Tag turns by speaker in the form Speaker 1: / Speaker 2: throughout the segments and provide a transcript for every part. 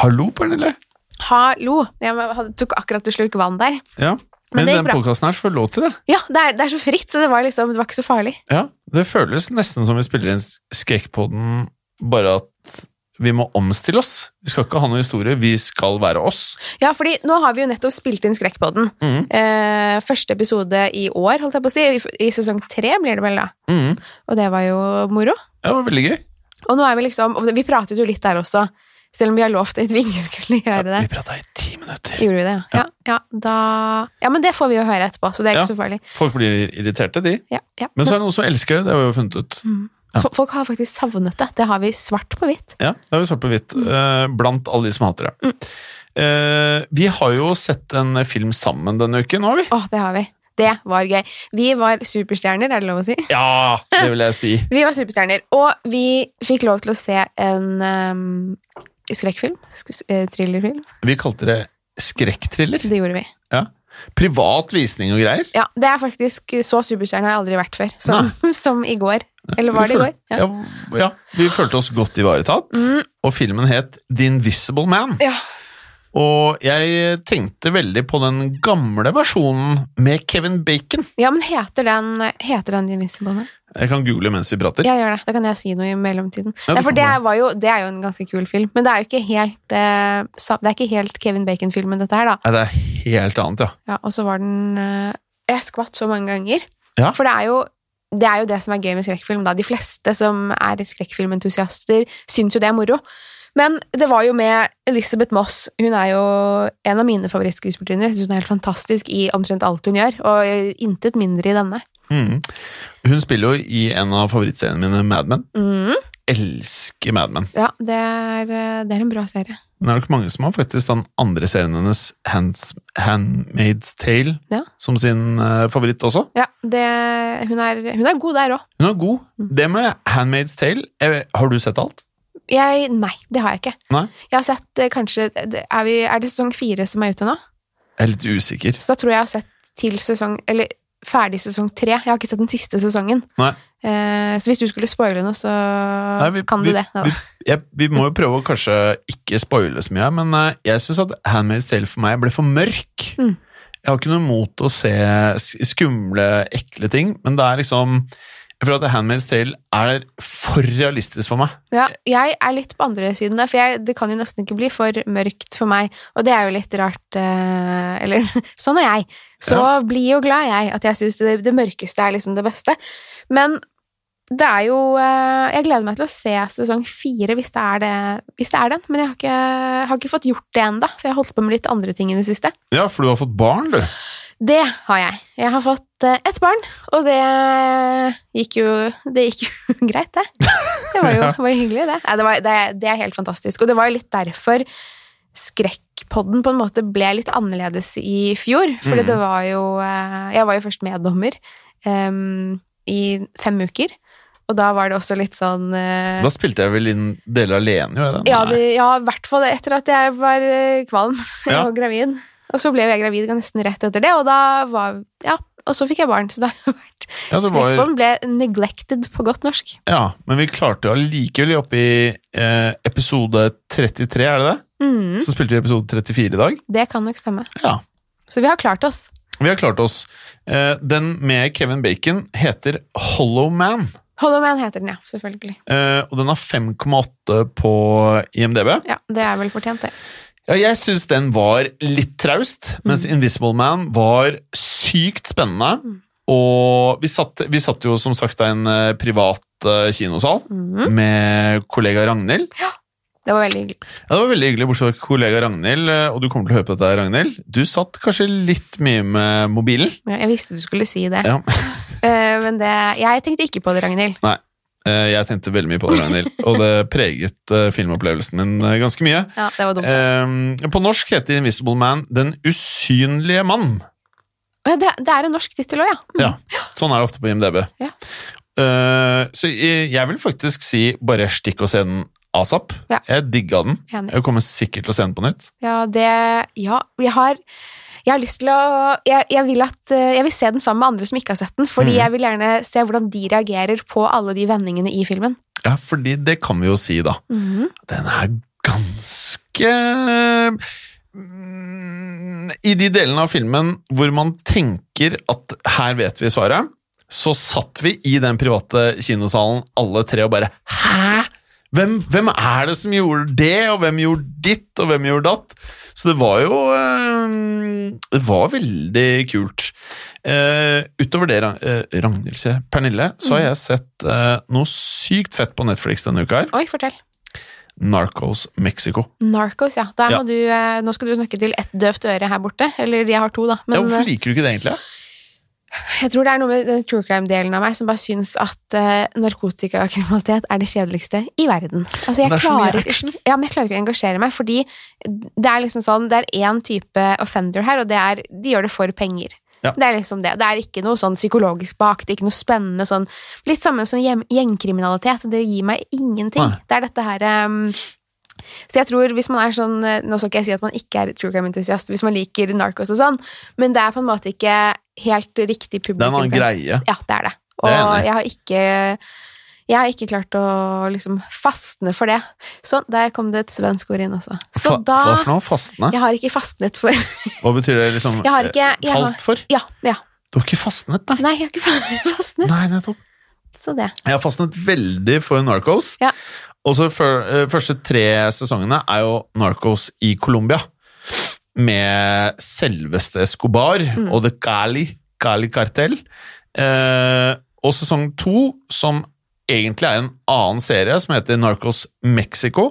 Speaker 1: Hallo, Pernille.
Speaker 2: Hallo. Jeg hadde- tok akkurat en slurk vann der.
Speaker 1: Ja.
Speaker 2: Men
Speaker 1: Men,
Speaker 2: det
Speaker 1: den
Speaker 2: gikk bra.
Speaker 1: podkasten her får lov til det.
Speaker 2: Ja, det er, det er så fritt, så det var liksom, det var ikke så farlig.
Speaker 1: Ja. Det føles nesten som vi spiller inn Skrekkpodden, bare at vi må omstille oss. Vi skal ikke ha noe historie, vi skal være oss.
Speaker 2: Ja, fordi nå har vi jo nettopp spilt inn Skrekkpodden.
Speaker 1: Mhm.
Speaker 2: Eh, første episode i år, holdt jeg på å si. I, f- i sesong tre blir det vel, da.
Speaker 1: Mhm.
Speaker 2: Og det var jo moro.
Speaker 1: Ja, Det var veldig gøy.
Speaker 2: Og nå er vi liksom og Vi pratet jo litt der også, selv om vi har lovt at vi ikke skulle
Speaker 1: Ja,
Speaker 2: gjøre det.
Speaker 1: vi prata i ti minutter.
Speaker 2: Gjorde vi det, ja. Ja, ja, da... ja, men det får vi jo høre etterpå, så det er
Speaker 1: Ja.
Speaker 2: ikke så farlig.
Speaker 1: Folk blir irriterte, de.
Speaker 2: Ja, ja.
Speaker 1: Men så er det noen som elsker det. Det har vi jo funnet ut. ja.
Speaker 2: Fo- Folk har faktisk savnet det. Det har vi svart på hvitt.
Speaker 1: Ja, det har vi svart på hvitt.
Speaker 2: Mm.
Speaker 1: eh, Blant alle de som hater det. Eh, Vi har jo sett en film sammen denne uken, har vi?
Speaker 2: Å, det har vi. Det var gøy. Vi var superstjerner, er det lov å si?
Speaker 1: Ja, det vil jeg si.
Speaker 2: Vi var superstjerner, og vi fikk lov til å se en ehm, skrekkfilm. Sk eh, thrillerfilm.
Speaker 1: Vi kalte det skrekkthriller.
Speaker 2: Det gjorde vi.
Speaker 1: Ja. Privat visning og greier.
Speaker 2: Ja, det er faktisk så superstjerne har jeg aldri vært før. Som, som i går. Eller var det i
Speaker 1: Vi
Speaker 2: går?
Speaker 1: føl-
Speaker 2: Ja. Mm.
Speaker 1: Ja. ja. Vi følte oss godt ivaretatt, og filmen het The Invisible Man.
Speaker 2: Ja.
Speaker 1: Og jeg tenkte veldig på den gamle versjonen med Kevin Bacon.
Speaker 2: ja, men heter den, heter den Invincible Man?
Speaker 1: Jeg kan google mens vi prater.
Speaker 2: Ja, gjør det. Da kan jeg si noe i mellomtiden.
Speaker 1: Ja, du
Speaker 2: Nei, for
Speaker 1: kan
Speaker 2: det,
Speaker 1: bare-
Speaker 2: var jo, det er jo en ganske kul film, men det er jo ikke helt, eh, sa- det er ikke helt Kevin Bacon-filmen, dette her, da.
Speaker 1: Nei, det er helt annet, ja.
Speaker 2: Ja, og så var den eh, Jeg skvatt så mange ganger.
Speaker 1: Ja.
Speaker 2: For det er jo det er jo det som er gøy med skrekkfilm. da. De fleste som er skrekkfilmentusiaster, syns jo det er moro. Men det var jo med Elizabeth Moss. Hun er jo en av mine favorittskuespillerinner. Jeg synes Hun er helt fantastisk i omtrent alt hun gjør, og intet mindre i denne.
Speaker 1: Mhm. Hun spiller jo i en av favorittseriene mine, Mad Men.
Speaker 2: Mm.
Speaker 1: Elsker Mad Men.
Speaker 2: Ja, det er, eh, det er en bra serie.
Speaker 1: Men det er nok mange som har faktisk den andre serien hennes, Hands, Handmaid's Tale,
Speaker 2: Ja.
Speaker 1: som sin eh, favoritt også.
Speaker 2: Ja, det, hun, er, hun er god der òg.
Speaker 1: Hun er god. Det med Handmaid's Tale jeg vet- Har du sett alt?
Speaker 2: Jeg Nei, det har jeg ikke.
Speaker 1: Nei?
Speaker 2: Jeg har sett eh, kanskje Er, vi, er det sesong fire som er ute nå?
Speaker 1: Jeg er litt usikker.
Speaker 2: Så da tror jeg jeg har sett til sesong Eller ferdig sesong tre. Jeg har ikke sett den siste sesongen.
Speaker 1: Nei.
Speaker 2: Eh, så hvis du skulle spoile noe, så
Speaker 1: Nei, vi-
Speaker 2: kan du
Speaker 1: vi-
Speaker 2: det. Ja, da.
Speaker 1: Vi, jeg, vi må jo prøve å kanskje ikke spoile så mye, her, men eh, jeg syns at Handmaid's Tale for meg ble for mørk.
Speaker 2: Mm.
Speaker 1: Jeg har ikke noe mot å se sk- skumle, ekle ting, men det er liksom Jeg føler at Handmaid's Tale er for realistisk for meg.
Speaker 2: ja, jeg er litt på andre siden der, for jeg, det kan jo nesten ikke bli for mørkt for meg. Og det er jo litt rart eh, Eller sånn er jeg. Så blir jo glad jeg at jeg syns det, det mørkeste er liksom det beste. Men det er jo eh, Jeg gleder meg til å se sesong fire, hvis det er, det, hvis det er den. Men jeg har ikke, har ikke fått gjort det ennå, for jeg har holdt på med litt andre ting i det siste.
Speaker 1: Ja, for du har fått barn, du.
Speaker 2: Det har jeg. Jeg har fått eh, ett barn, og det gikk jo, det gikk jo greit, det. Det var jo,
Speaker 1: Ja.
Speaker 2: det var jo hyggelig, det. Nei, det, var, det. Det er helt fantastisk. Og det var jo litt derfor Skrekkpodden på en måte ble litt annerledes i fjor. Fordi
Speaker 1: Mm.
Speaker 2: det var jo eh, Jeg var jo først meddommer em, i fem uker. Og da var det også litt sånn eh,
Speaker 1: Da spilte jeg vel inn deler alene, jo. jeg, da.
Speaker 2: ja,
Speaker 1: Nei.
Speaker 2: det, ja, i hvert fall etter at jeg var eh, kvalm
Speaker 1: Ja.
Speaker 2: og gravid. Og så ble jo jeg gravid nesten rett etter det, og da var Ja, og så fikk jeg barn, så da har jeg vært
Speaker 1: ja, det var,
Speaker 2: Skrekkpodden ble neglected på godt norsk.
Speaker 1: Ja, men vi klarte jo allikevel oppe i eh, episode 33, er det det?
Speaker 2: Mm,
Speaker 1: Så spilte vi episode 34 i dag.
Speaker 2: det kan nok stemme.
Speaker 1: Ja.
Speaker 2: Så vi har klart oss.
Speaker 1: Vi har klart oss. Eh, den med Kevin Bacon heter Hollow Man,
Speaker 2: Hollow Man heter den, ja. Selvfølgelig.
Speaker 1: eh, og den har 5,8 på IMDb.
Speaker 2: Ja, Det er vel fortjent, det.
Speaker 1: Ja, jeg syns den var litt traust, mens Invisible Man var sykt spennende.
Speaker 2: Mm.
Speaker 1: Og vi satt, vi satt jo som sagt i en eh, privat eh, kinosal
Speaker 2: Mm,
Speaker 1: med kollega Ragnhild.
Speaker 2: det var veldig hyggelig.
Speaker 1: Ja, Det var veldig hyggelig, bortsett fra kollega Ragnhild, eh, og du kommer til å høre på dette, her, Ragnhild. Du satt kanskje litt mye med mobilen.
Speaker 2: Ja, Jeg visste du skulle si det.
Speaker 1: Ja.
Speaker 2: Eh, men det Jeg tenkte ikke på det, Ragnhild.
Speaker 1: Eh, Jeg tenkte veldig mye på det, Ragnhild, og det preget eh, filmopplevelsen min eh, ganske mye.
Speaker 2: Ja, det var dumt.
Speaker 1: Eh, På norsk heter Invisible Man Den usynlige mann.
Speaker 2: Ja, det, det er en norsk tittel òg, ja. Mm.
Speaker 1: Ja, sånn er det ofte på IMDb.
Speaker 2: Ja.
Speaker 1: Eh, Så jeg jeg vil faktisk si bare stikk og se den asap.
Speaker 2: Ja.
Speaker 1: Jeg digga den.
Speaker 2: Enig.
Speaker 1: Jeg kommer sikkert til å se den på nytt.
Speaker 2: Ja, det Ja, jeg har jeg har lyst til å jeg, jeg, vil at, eh, jeg vil se den sammen med andre som ikke har sett den, fordi
Speaker 1: Mhm.
Speaker 2: jeg vil gjerne se hvordan de reagerer på alle de vendingene i filmen.
Speaker 1: Mhm. Ja, fordi det kan vi jo si, da. Den er ganske ikke mm, I de delene av filmen hvor man tenker at her vet vi svaret, så satt vi i den private kinosalen alle tre og bare Hæ?! Hvem, hvem er det som gjorde det, og hvem gjorde ditt, og hvem gjorde datt? Så det var jo eh, Det var veldig kult. Eh, utover det, Ra- eh, Ragnhild, sier jeg. Pernille, så har jeg sett eh, noe sykt fett på Netflix denne uka her.
Speaker 2: Oi, fortell.
Speaker 1: Narcos Mexico.
Speaker 2: Narcos, ja. Der
Speaker 1: Ja.
Speaker 2: Må du, eh, nå skal du snakke til ett døvt øre her borte. Eller jeg har to, da.
Speaker 1: ja,
Speaker 2: Men
Speaker 1: hvorfor
Speaker 2: eh,
Speaker 1: liker du ikke det, egentlig?
Speaker 2: jeg tror det er noe med den true crime-delen av meg som bare syns at eh, narkotikakriminalitet er det kjedeligste i verden. Altså,
Speaker 1: Men
Speaker 2: jeg
Speaker 1: det er så mye
Speaker 2: klarer,
Speaker 1: action.
Speaker 2: ja, men jeg klarer ikke å engasjere meg, fordi det er liksom sånn, det er én type offender her, og det er de gjør det for penger.
Speaker 1: Ja.
Speaker 2: Det er liksom det. Det er ikke noe sånn psykologisk bak, det er ikke noe spennende sånn Litt samme som hjem- gjengkriminalitet. Det gir meg ingenting.
Speaker 1: Nei.
Speaker 2: Det er dette her ehm, så jeg tror hvis man er sånn, eh, Nå skal ikke jeg si at man ikke er true crime-entusiast hvis man liker narkos og sånn, men det er på en måte ikke helt
Speaker 1: Det er
Speaker 2: riktig
Speaker 1: en
Speaker 2: publikum.
Speaker 1: annen greie.
Speaker 2: Ja, det er det. Og
Speaker 1: Det er jeg enig i.
Speaker 2: jeg har ikke jeg har ikke klart å liksom fastne for det. Så der kom det et svensk ord inn også. Så
Speaker 1: Fa-
Speaker 2: da
Speaker 1: Hva for noe? Fastne?
Speaker 2: Jeg har ikke fastnet for
Speaker 1: Hva betyr det? liksom?
Speaker 2: Jeg har ikke-
Speaker 1: eh,
Speaker 2: jeg har-
Speaker 1: Falt for?
Speaker 2: Ja, ja.
Speaker 1: Du har ikke fastnet, nei?
Speaker 2: Nei, jeg har ikke fa- fastnet.
Speaker 1: Nei, nettopp.
Speaker 2: Så det.
Speaker 1: Jeg har fastnet veldig for Narcos.
Speaker 2: Ja.
Speaker 1: Og så for, eh, første tre sesongene er jo Narcos i Colombia. Med selveste Escobar og The Cali, Cali Cartel. Eh, og sesong to, som egentlig er en annen serie, som heter Narcos Mexico.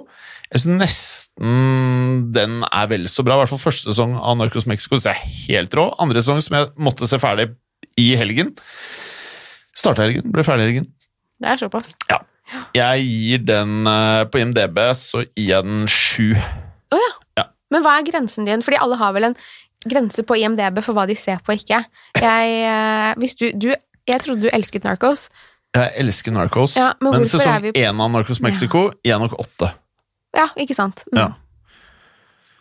Speaker 1: Jeg synes nesten den er vel så bra. I hvert fall første sesong av Narcos Mexico synes jeg er helt rå. Andre sesong som jeg måtte se ferdig i helgen. Starta helgen, ble ferdig helgen.
Speaker 2: Det er såpass.
Speaker 1: Jeg gir den eh, på IMDb, så gir jeg den sju.
Speaker 2: Men hva er grensen din? Fordi alle har vel en grense på IMDb for hva de ser på og ikke. Jeg, eh, hvis du, du, jeg trodde du elsket Narcos.
Speaker 1: Jeg elsker Narcos,
Speaker 2: Ja, men
Speaker 1: men,
Speaker 2: hvorfor er
Speaker 1: sesong
Speaker 2: vi-
Speaker 1: én av Narcos Mexico gir jeg nok åtte.
Speaker 2: Ja, ikke sant? Mm.
Speaker 1: Ja.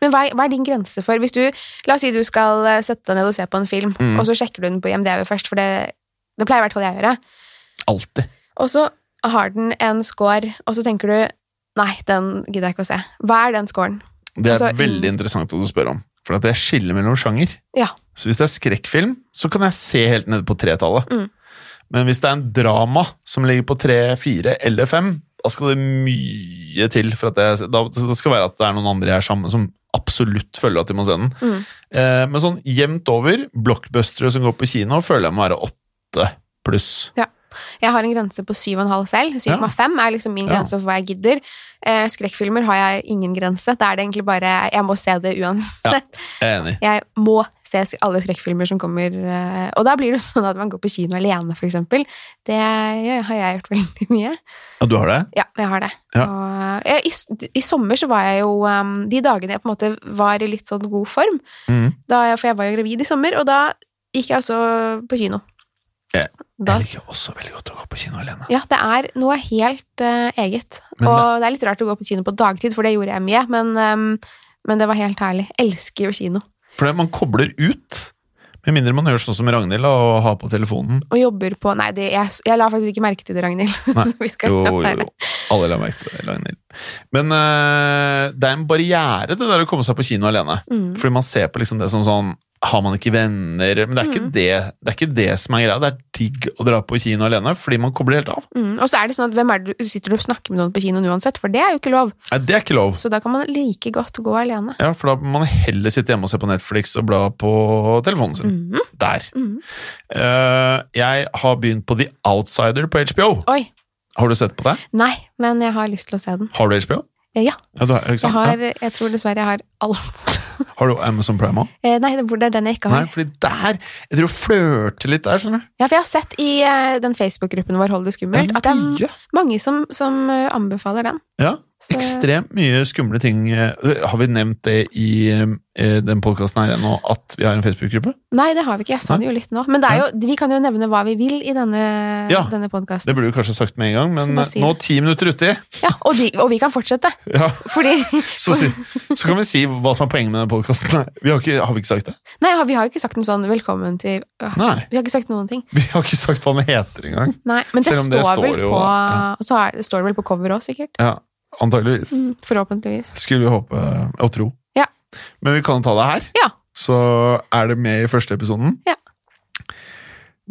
Speaker 2: Men hva er, hva er din grense for Hvis du, La oss si du skal eh, sette deg ned og se på en film,
Speaker 1: Mm.
Speaker 2: og så sjekker du den på IMDb først, for det, det pleier i hvert fall jeg å gjøre.
Speaker 1: Alltid.
Speaker 2: Og så har den en score, og så tenker du Nei, den gidder jeg ikke å se. Hva er den scoren?
Speaker 1: Det er
Speaker 2: Altså, mm.
Speaker 1: veldig interessant at du spør om, for at jeg skiller mellom sjanger.
Speaker 2: Ja.
Speaker 1: Så hvis det er skrekkfilm, så kan jeg se helt nede på tretallet.
Speaker 2: Mm.
Speaker 1: Men hvis det er en drama som ligger på tre, fire eller fem, da skal det mye til. For at jeg, da, det skal være at det er noen andre jeg er sammen med som absolutt føler at de må se den.
Speaker 2: Mm.
Speaker 1: Eh, men sånn jevnt over, blockbustere som går på kino, føler jeg må være åtte pluss.
Speaker 2: Jeg har en grense på 7,5 selv. 7,5 er liksom min
Speaker 1: Ja.
Speaker 2: grense for hva jeg gidder. Eh, Skrekkfilmer har jeg ingen grense. Da er det egentlig bare Jeg må se det uansett.
Speaker 1: Jeg er enig.
Speaker 2: Jeg må se sk- alle skrekkfilmer som kommer. eh, Og da blir det jo sånn at man går på kino alene, for eksempel. Det har jeg gjort veldig mye.
Speaker 1: Ja, du har det?
Speaker 2: Ja, jeg har det.
Speaker 1: Ja.
Speaker 2: Og, eh, i, s- I sommer så var jeg jo um, De dagene jeg på en måte var i litt sånn god form,
Speaker 1: Mm.
Speaker 2: da jeg, for jeg var jo gravid i sommer, og da gikk jeg altså på kino.
Speaker 1: Ja.
Speaker 2: Da,
Speaker 1: Jeg liker også veldig godt å gå på kino alene.
Speaker 2: ja, det er noe helt eh, eget.
Speaker 1: Men
Speaker 2: og det er litt rart å gå på kino på dagtid, for det gjorde jeg mye, men, ehm, men det var helt herlig. Elsker jo kino.
Speaker 1: For det- man kobler ut, med mindre man gjør sånn som Ragnhild da, og har på telefonen.
Speaker 2: Og jobber på Nei, det, jeg, jeg la faktisk ikke merke til det, Ragnhild.
Speaker 1: Nei.
Speaker 2: Så vi skal
Speaker 1: Jo,
Speaker 2: la
Speaker 1: jo,
Speaker 2: være.
Speaker 1: jo. Alle la merke til det. Ragnhild. Men eh, det er en barriere, det der å komme seg på kino alene.
Speaker 2: Mm.
Speaker 1: Fordi man ser på liksom det som sånn Har man ikke venner? Men det er ikke,
Speaker 2: Mm.
Speaker 1: det, det, er ikke det som er greia. Det er digg å dra på kino alene fordi man kobler helt av.
Speaker 2: Mm. Og så er det sånn at hvem er det du sitter du og snakker med noen på kinoen uansett, for det er jo ikke lov.
Speaker 1: Nei, det er ikke lov.
Speaker 2: Så da kan man like godt gå alene.
Speaker 1: Ja, For da må man heller sitte hjemme og se på Netflix og bla på telefonen sin.
Speaker 2: Mhm.
Speaker 1: Der.
Speaker 2: Mhm.
Speaker 1: Eh, jeg har begynt på The Outsider på HBO.
Speaker 2: Oi.
Speaker 1: Har du sett på det?
Speaker 2: Nei, men jeg har lyst til å se den.
Speaker 1: Har du HBO?
Speaker 2: Eh, Ja,
Speaker 1: Ja, du har, ikke
Speaker 2: jeg
Speaker 1: sant?
Speaker 2: har Jeg tror dessverre jeg har alt.
Speaker 1: ja. har du Amazon Prime òg?
Speaker 2: Eh, Nei, det hvor det er den jeg ikke
Speaker 1: Nei,
Speaker 2: har.
Speaker 1: fordi der Jeg tror flørter litt der, skjønner du.
Speaker 2: Ja, for jeg har sett i eh, den Facebook-gruppen vår Hold det skummelt, at det er
Speaker 1: mye.
Speaker 2: mange som, som eh, anbefaler den.
Speaker 1: Ja,
Speaker 2: Så-
Speaker 1: ekstremt mye skumle ting. Eh, Har vi nevnt det i eh, den podkasten her ennå, at vi har en Facebook-gruppe?
Speaker 2: Nei, det har vi ikke. Jeg sa det jo litt nå. Men det er jo, vi kan jo nevne hva vi vil i denne,
Speaker 1: Ja.
Speaker 2: denne podkasten.
Speaker 1: Det burde du kanskje sagt med en gang,
Speaker 2: Så
Speaker 1: men
Speaker 2: bare
Speaker 1: eh,
Speaker 2: si
Speaker 1: nå
Speaker 2: det.
Speaker 1: ti minutter uti,
Speaker 2: Ja, og, de, og vi kan fortsette.
Speaker 1: ja,
Speaker 2: Fordi
Speaker 1: så, si, så kan vi si hva som er poenget med den podkasten. Vi har, ikke, har vi ikke sagt det?
Speaker 2: Nei, vi har jo ikke sagt noe sånn 'velkommen til øh,
Speaker 1: Nei.
Speaker 2: Vi har ikke sagt noen ting.
Speaker 1: Vi har ikke sagt hva den heter engang.
Speaker 2: Nei, men det
Speaker 1: Selv om
Speaker 2: står,
Speaker 1: det står
Speaker 2: vel
Speaker 1: jo-
Speaker 2: på
Speaker 1: ja.
Speaker 2: så er, det står det vel på cover òg, sikkert.
Speaker 1: Ja. Antageligvis.
Speaker 2: Mm, Forhåpentligvis.
Speaker 1: Skulle vi håpe og tro.
Speaker 2: Ja.
Speaker 1: Men vi kan ta det her.
Speaker 2: Ja.
Speaker 1: Så er det med i første episoden.
Speaker 2: Ja.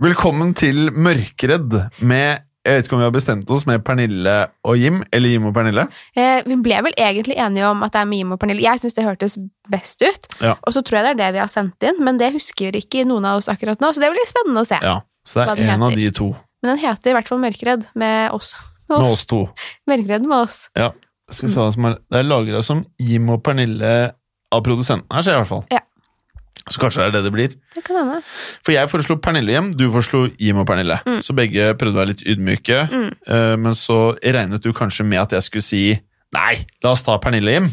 Speaker 1: Velkommen til Mørkeredd med Jeg vet ikke om vi har bestemt oss med Pernille og Jim, eller Jim og Pernille.
Speaker 2: Eh, vi ble vel egentlig enige om at det er Mime og Pernille. Jeg syns det hørtes best ut.
Speaker 1: Ja.
Speaker 2: Og så tror jeg det er det vi har sendt inn, men det husker ikke noen av oss akkurat nå, så det blir spennende å se.
Speaker 1: Ja, Så
Speaker 2: Hva
Speaker 1: det
Speaker 2: den
Speaker 1: er en av
Speaker 2: heter.
Speaker 1: de to.
Speaker 2: Men den heter i hvert fall Mørkeredd med oss. Med
Speaker 1: Med
Speaker 2: oss.
Speaker 1: oss to.
Speaker 2: Mørkeredd med oss.
Speaker 1: Skal vi se hva som er, det er lagra som Jim og Pernille av produsenten her, ser jeg i hvert fall.
Speaker 2: Ja.
Speaker 1: Så kanskje det er det det blir.
Speaker 2: Det kan hende.
Speaker 1: For jeg foreslo Pernille hjem, du foreslo Jim og Pernille.
Speaker 2: Mm.
Speaker 1: Så begge prøvde å være litt ydmyke.
Speaker 2: Mm.
Speaker 1: eh, Men så regnet du kanskje med at jeg skulle si Nei, la oss ta Pernille hjem.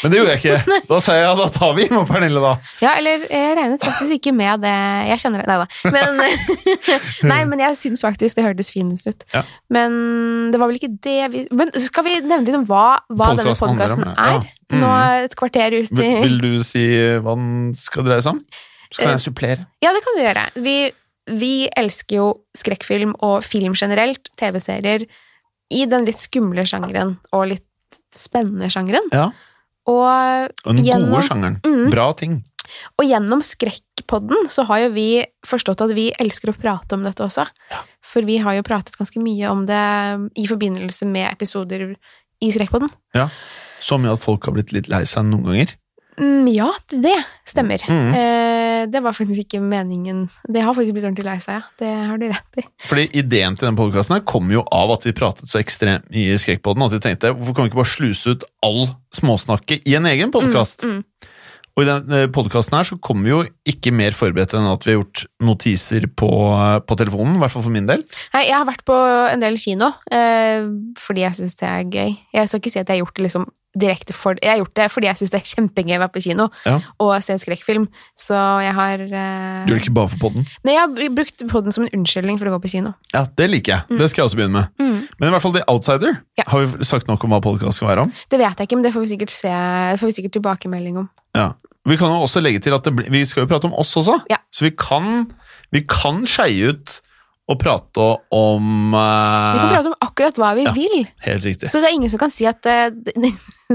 Speaker 1: Men det gjorde jeg ikke. Da sa jeg ja, da tar vi Jim og Pernille, da.
Speaker 2: Ja, eller jeg regnet faktisk ikke med det Jeg kjenner det Nei da. Men, nei, men jeg syns faktisk det hørtes finest ut.
Speaker 1: Ja.
Speaker 2: Men det var vel ikke det vi Men skal vi nevne litt om hva, hva denne
Speaker 1: Podcasten handler om
Speaker 2: podkasten
Speaker 1: det,
Speaker 2: er?
Speaker 1: ja. Mm.
Speaker 2: Nå et kvarter ut i
Speaker 1: Vil, vil du si hva den skal dreie seg om?
Speaker 2: Eh,
Speaker 1: Så kan jeg supplere.
Speaker 2: Ja, det kan du gjøre. Vi, vi elsker jo skrekkfilm og film generelt, TV-serier, i den litt skumle sjangeren og litt spennende sjangeren.
Speaker 1: Ja.
Speaker 2: Og,
Speaker 1: Og den gode
Speaker 2: Gjennom-
Speaker 1: sjangeren.
Speaker 2: mm,
Speaker 1: Bra ting.
Speaker 2: og gjennom Skrekkpodden så har jo vi forstått at vi elsker å prate om dette også. For vi har jo pratet ganske mye om det i forbindelse med episoder i Skrekkpodden.
Speaker 1: Så mye at folk har blitt litt lei seg noen ganger.
Speaker 2: Mm, ja, det stemmer.
Speaker 1: Mm.
Speaker 2: Eh, det var faktisk ikke meningen. Det har faktisk blitt ordentlig lei seg, ja. Det har du rett i.
Speaker 1: Fordi ideen til den podkasten kom jo av at vi pratet så ekstremt mye i Skrekkpodden at vi tenkte hvorfor kan vi ikke bare sluse ut all småsnakket i en egen podkast?
Speaker 2: Mm, mm.
Speaker 1: Og i den podkasten her så kommer vi jo ikke mer forberedt enn at vi har gjort notiser på, eh, på telefonen, i hvert fall for min del.
Speaker 2: Nei, jeg har vært på en del kino, eh, fordi jeg syns det er gøy. Jeg skal ikke si at jeg har gjort det liksom direkte for Jeg har gjort det fordi jeg syns det er kjempegøy å være på kino
Speaker 1: Ja.
Speaker 2: og se en skrekkfilm. Så jeg har eh,
Speaker 1: Gjør det ikke bare for podden.
Speaker 2: Nei, jeg har br- brukt podden som en unnskyldning for å gå på kino.
Speaker 1: Ja, det liker jeg. Det skal jeg også begynne med.
Speaker 2: Mm.
Speaker 1: Men i hvert fall The Outsider
Speaker 2: Ja.
Speaker 1: har vi sagt nok om hva podkast skal være om.
Speaker 2: Det vet jeg ikke, men det får vi sikkert, se, det får vi sikkert tilbakemelding om.
Speaker 1: Ja. Vi kan jo også legge til at det blir, vi skal jo prate om oss også,
Speaker 2: Ja.
Speaker 1: så vi kan, vi kan skeie ut og prate om eh,
Speaker 2: Vi kan prate om akkurat hva vi
Speaker 1: ja.
Speaker 2: vil,
Speaker 1: Helt riktig.
Speaker 2: så det er ingen som kan si at eh, det,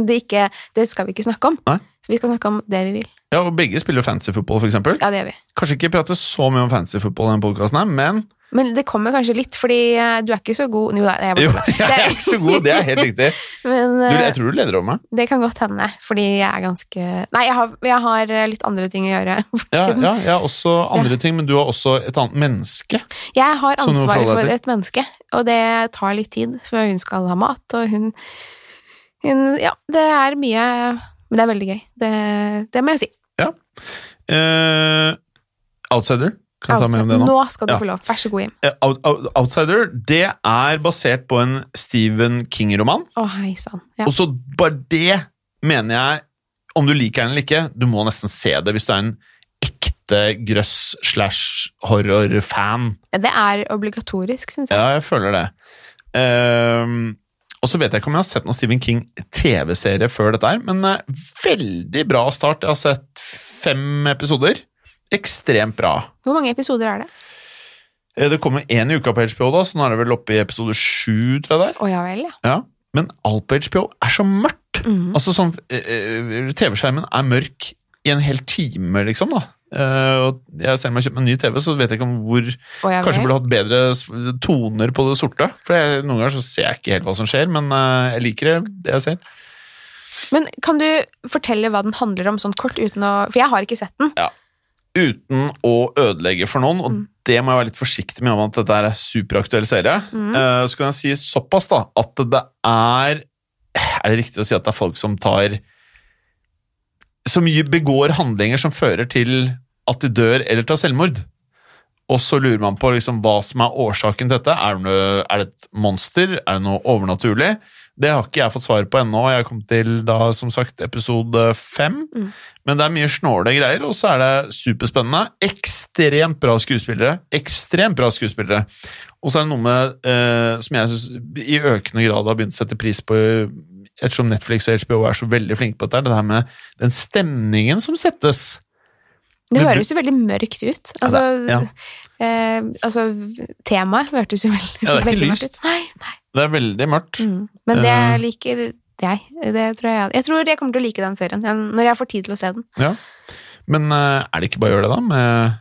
Speaker 2: det, ikke, det skal vi ikke snakke om.
Speaker 1: Nei.
Speaker 2: Vi skal snakke om det vi vil.
Speaker 1: Ja, og Begge spiller fancy football, for eksempel.
Speaker 2: Ja, det gjør vi.
Speaker 1: Kanskje ikke prate så mye om fancy football i denne podkasten, her, men
Speaker 2: Men det kommer kanskje litt, fordi eh, du er ikke så god Jo da, jeg
Speaker 1: jo,
Speaker 2: bare
Speaker 1: jeg er ikke så god. Det er helt riktig.
Speaker 2: Men
Speaker 1: Du,
Speaker 2: eh,
Speaker 1: jeg tror du leder over meg.
Speaker 2: det kan godt hende, fordi jeg er ganske Nei, jeg har, jeg har eh, litt andre ting å gjøre.
Speaker 1: Ja, ja, jeg har også andre ting, men du har også et annet menneske.
Speaker 2: Jeg har
Speaker 1: Så noe å forholde
Speaker 2: ansvaret
Speaker 1: deg
Speaker 2: for
Speaker 1: til.
Speaker 2: et menneske, og det tar litt tid, for hun skal ha mat, og hun, hun Ja, det er mye Men det er veldig gøy. Det, det må jeg si.
Speaker 1: Eh, outsider. Kan jeg ta med om det nå?
Speaker 2: Altså, nå skal du
Speaker 1: Ja.
Speaker 2: få lov. Vær så god, Jim.
Speaker 1: Eh, Out- Out- Outsider det er basert på en Stephen King-roman.
Speaker 2: Å, hei sann. Ja.
Speaker 1: Og så bare det mener jeg, om du liker den eller ikke, du må nesten se det hvis du er en ekte grøss slash horror-fan.
Speaker 2: Det er obligatorisk, syns jeg.
Speaker 1: Ja, jeg føler det. Ehm, og så vet jeg ikke om jeg har sett noen Stephen King-TV-serie før dette her, men eh, veldig bra start. Jeg har sett fem episoder. Ekstremt bra.
Speaker 2: Hvor mange episoder er det?
Speaker 1: Eh, Det kommer én i uka på HBO, da, så nå er det vel oppe i episode sju, tror jeg det er.
Speaker 2: Å ja vel, ja.
Speaker 1: Ja. Men alt på HBO er så mørkt.
Speaker 2: Mhm.
Speaker 1: Altså sånn eh, eh, TV-skjermen er mørk i en hel time, liksom, da. Eh, og jeg selv om jeg har kjøpt meg en ny TV, så vet jeg ikke om hvor
Speaker 2: Å, ja
Speaker 1: Kanskje
Speaker 2: vel.
Speaker 1: burde hatt bedre s- toner på det sorte. For jeg, noen ganger så ser jeg ikke helt hva som skjer, men eh, jeg liker det, det jeg ser.
Speaker 2: Men kan du fortelle hva den handler om sånn kort uten å For jeg har ikke sett den.
Speaker 1: Uten å ødelegge for noen, og
Speaker 2: Mm.
Speaker 1: det må jeg være litt forsiktig med om at dette er en superaktuell serie.
Speaker 2: Mm.
Speaker 1: Eh, så kan jeg si såpass, da, at det er Er det riktig å si at det er folk som tar Så mye begår handlinger som fører til at de dør eller tar selvmord. Og så lurer man på liksom hva som er årsaken til dette. Er det, noe, er det et monster? Er det noe overnaturlig? Det har ikke jeg fått svar på ennå. Jeg kom til da, som sagt, episode fem.
Speaker 2: Mm.
Speaker 1: Men det er mye snåle greier, og så er det superspennende. Ekstremt bra skuespillere. Ekstremt bra skuespillere. Og så er det noe med, eh, som jeg synes i økende grad har begynt å sette pris på, ettersom Netflix og HBO er så veldig flinke på dette, her, det her med den stemningen som settes.
Speaker 2: Det
Speaker 1: Men du-
Speaker 2: høres jo veldig mørkt ut.
Speaker 1: Ja,
Speaker 2: Altså,
Speaker 1: det-
Speaker 2: eh, altså temaet hørtes jo veldig,
Speaker 1: Ja, det er ikke
Speaker 2: veldig mørkt
Speaker 1: lyst.
Speaker 2: ut. Nei, nei.
Speaker 1: Det er veldig mørkt.
Speaker 2: Mm. Men det
Speaker 1: Eh.
Speaker 2: liker jeg. Det tror jeg, jeg tror jeg kommer til å like den serien jeg- når jeg får tid til å se den.
Speaker 1: Men eh, er det ikke bare å gjøre det, da? Med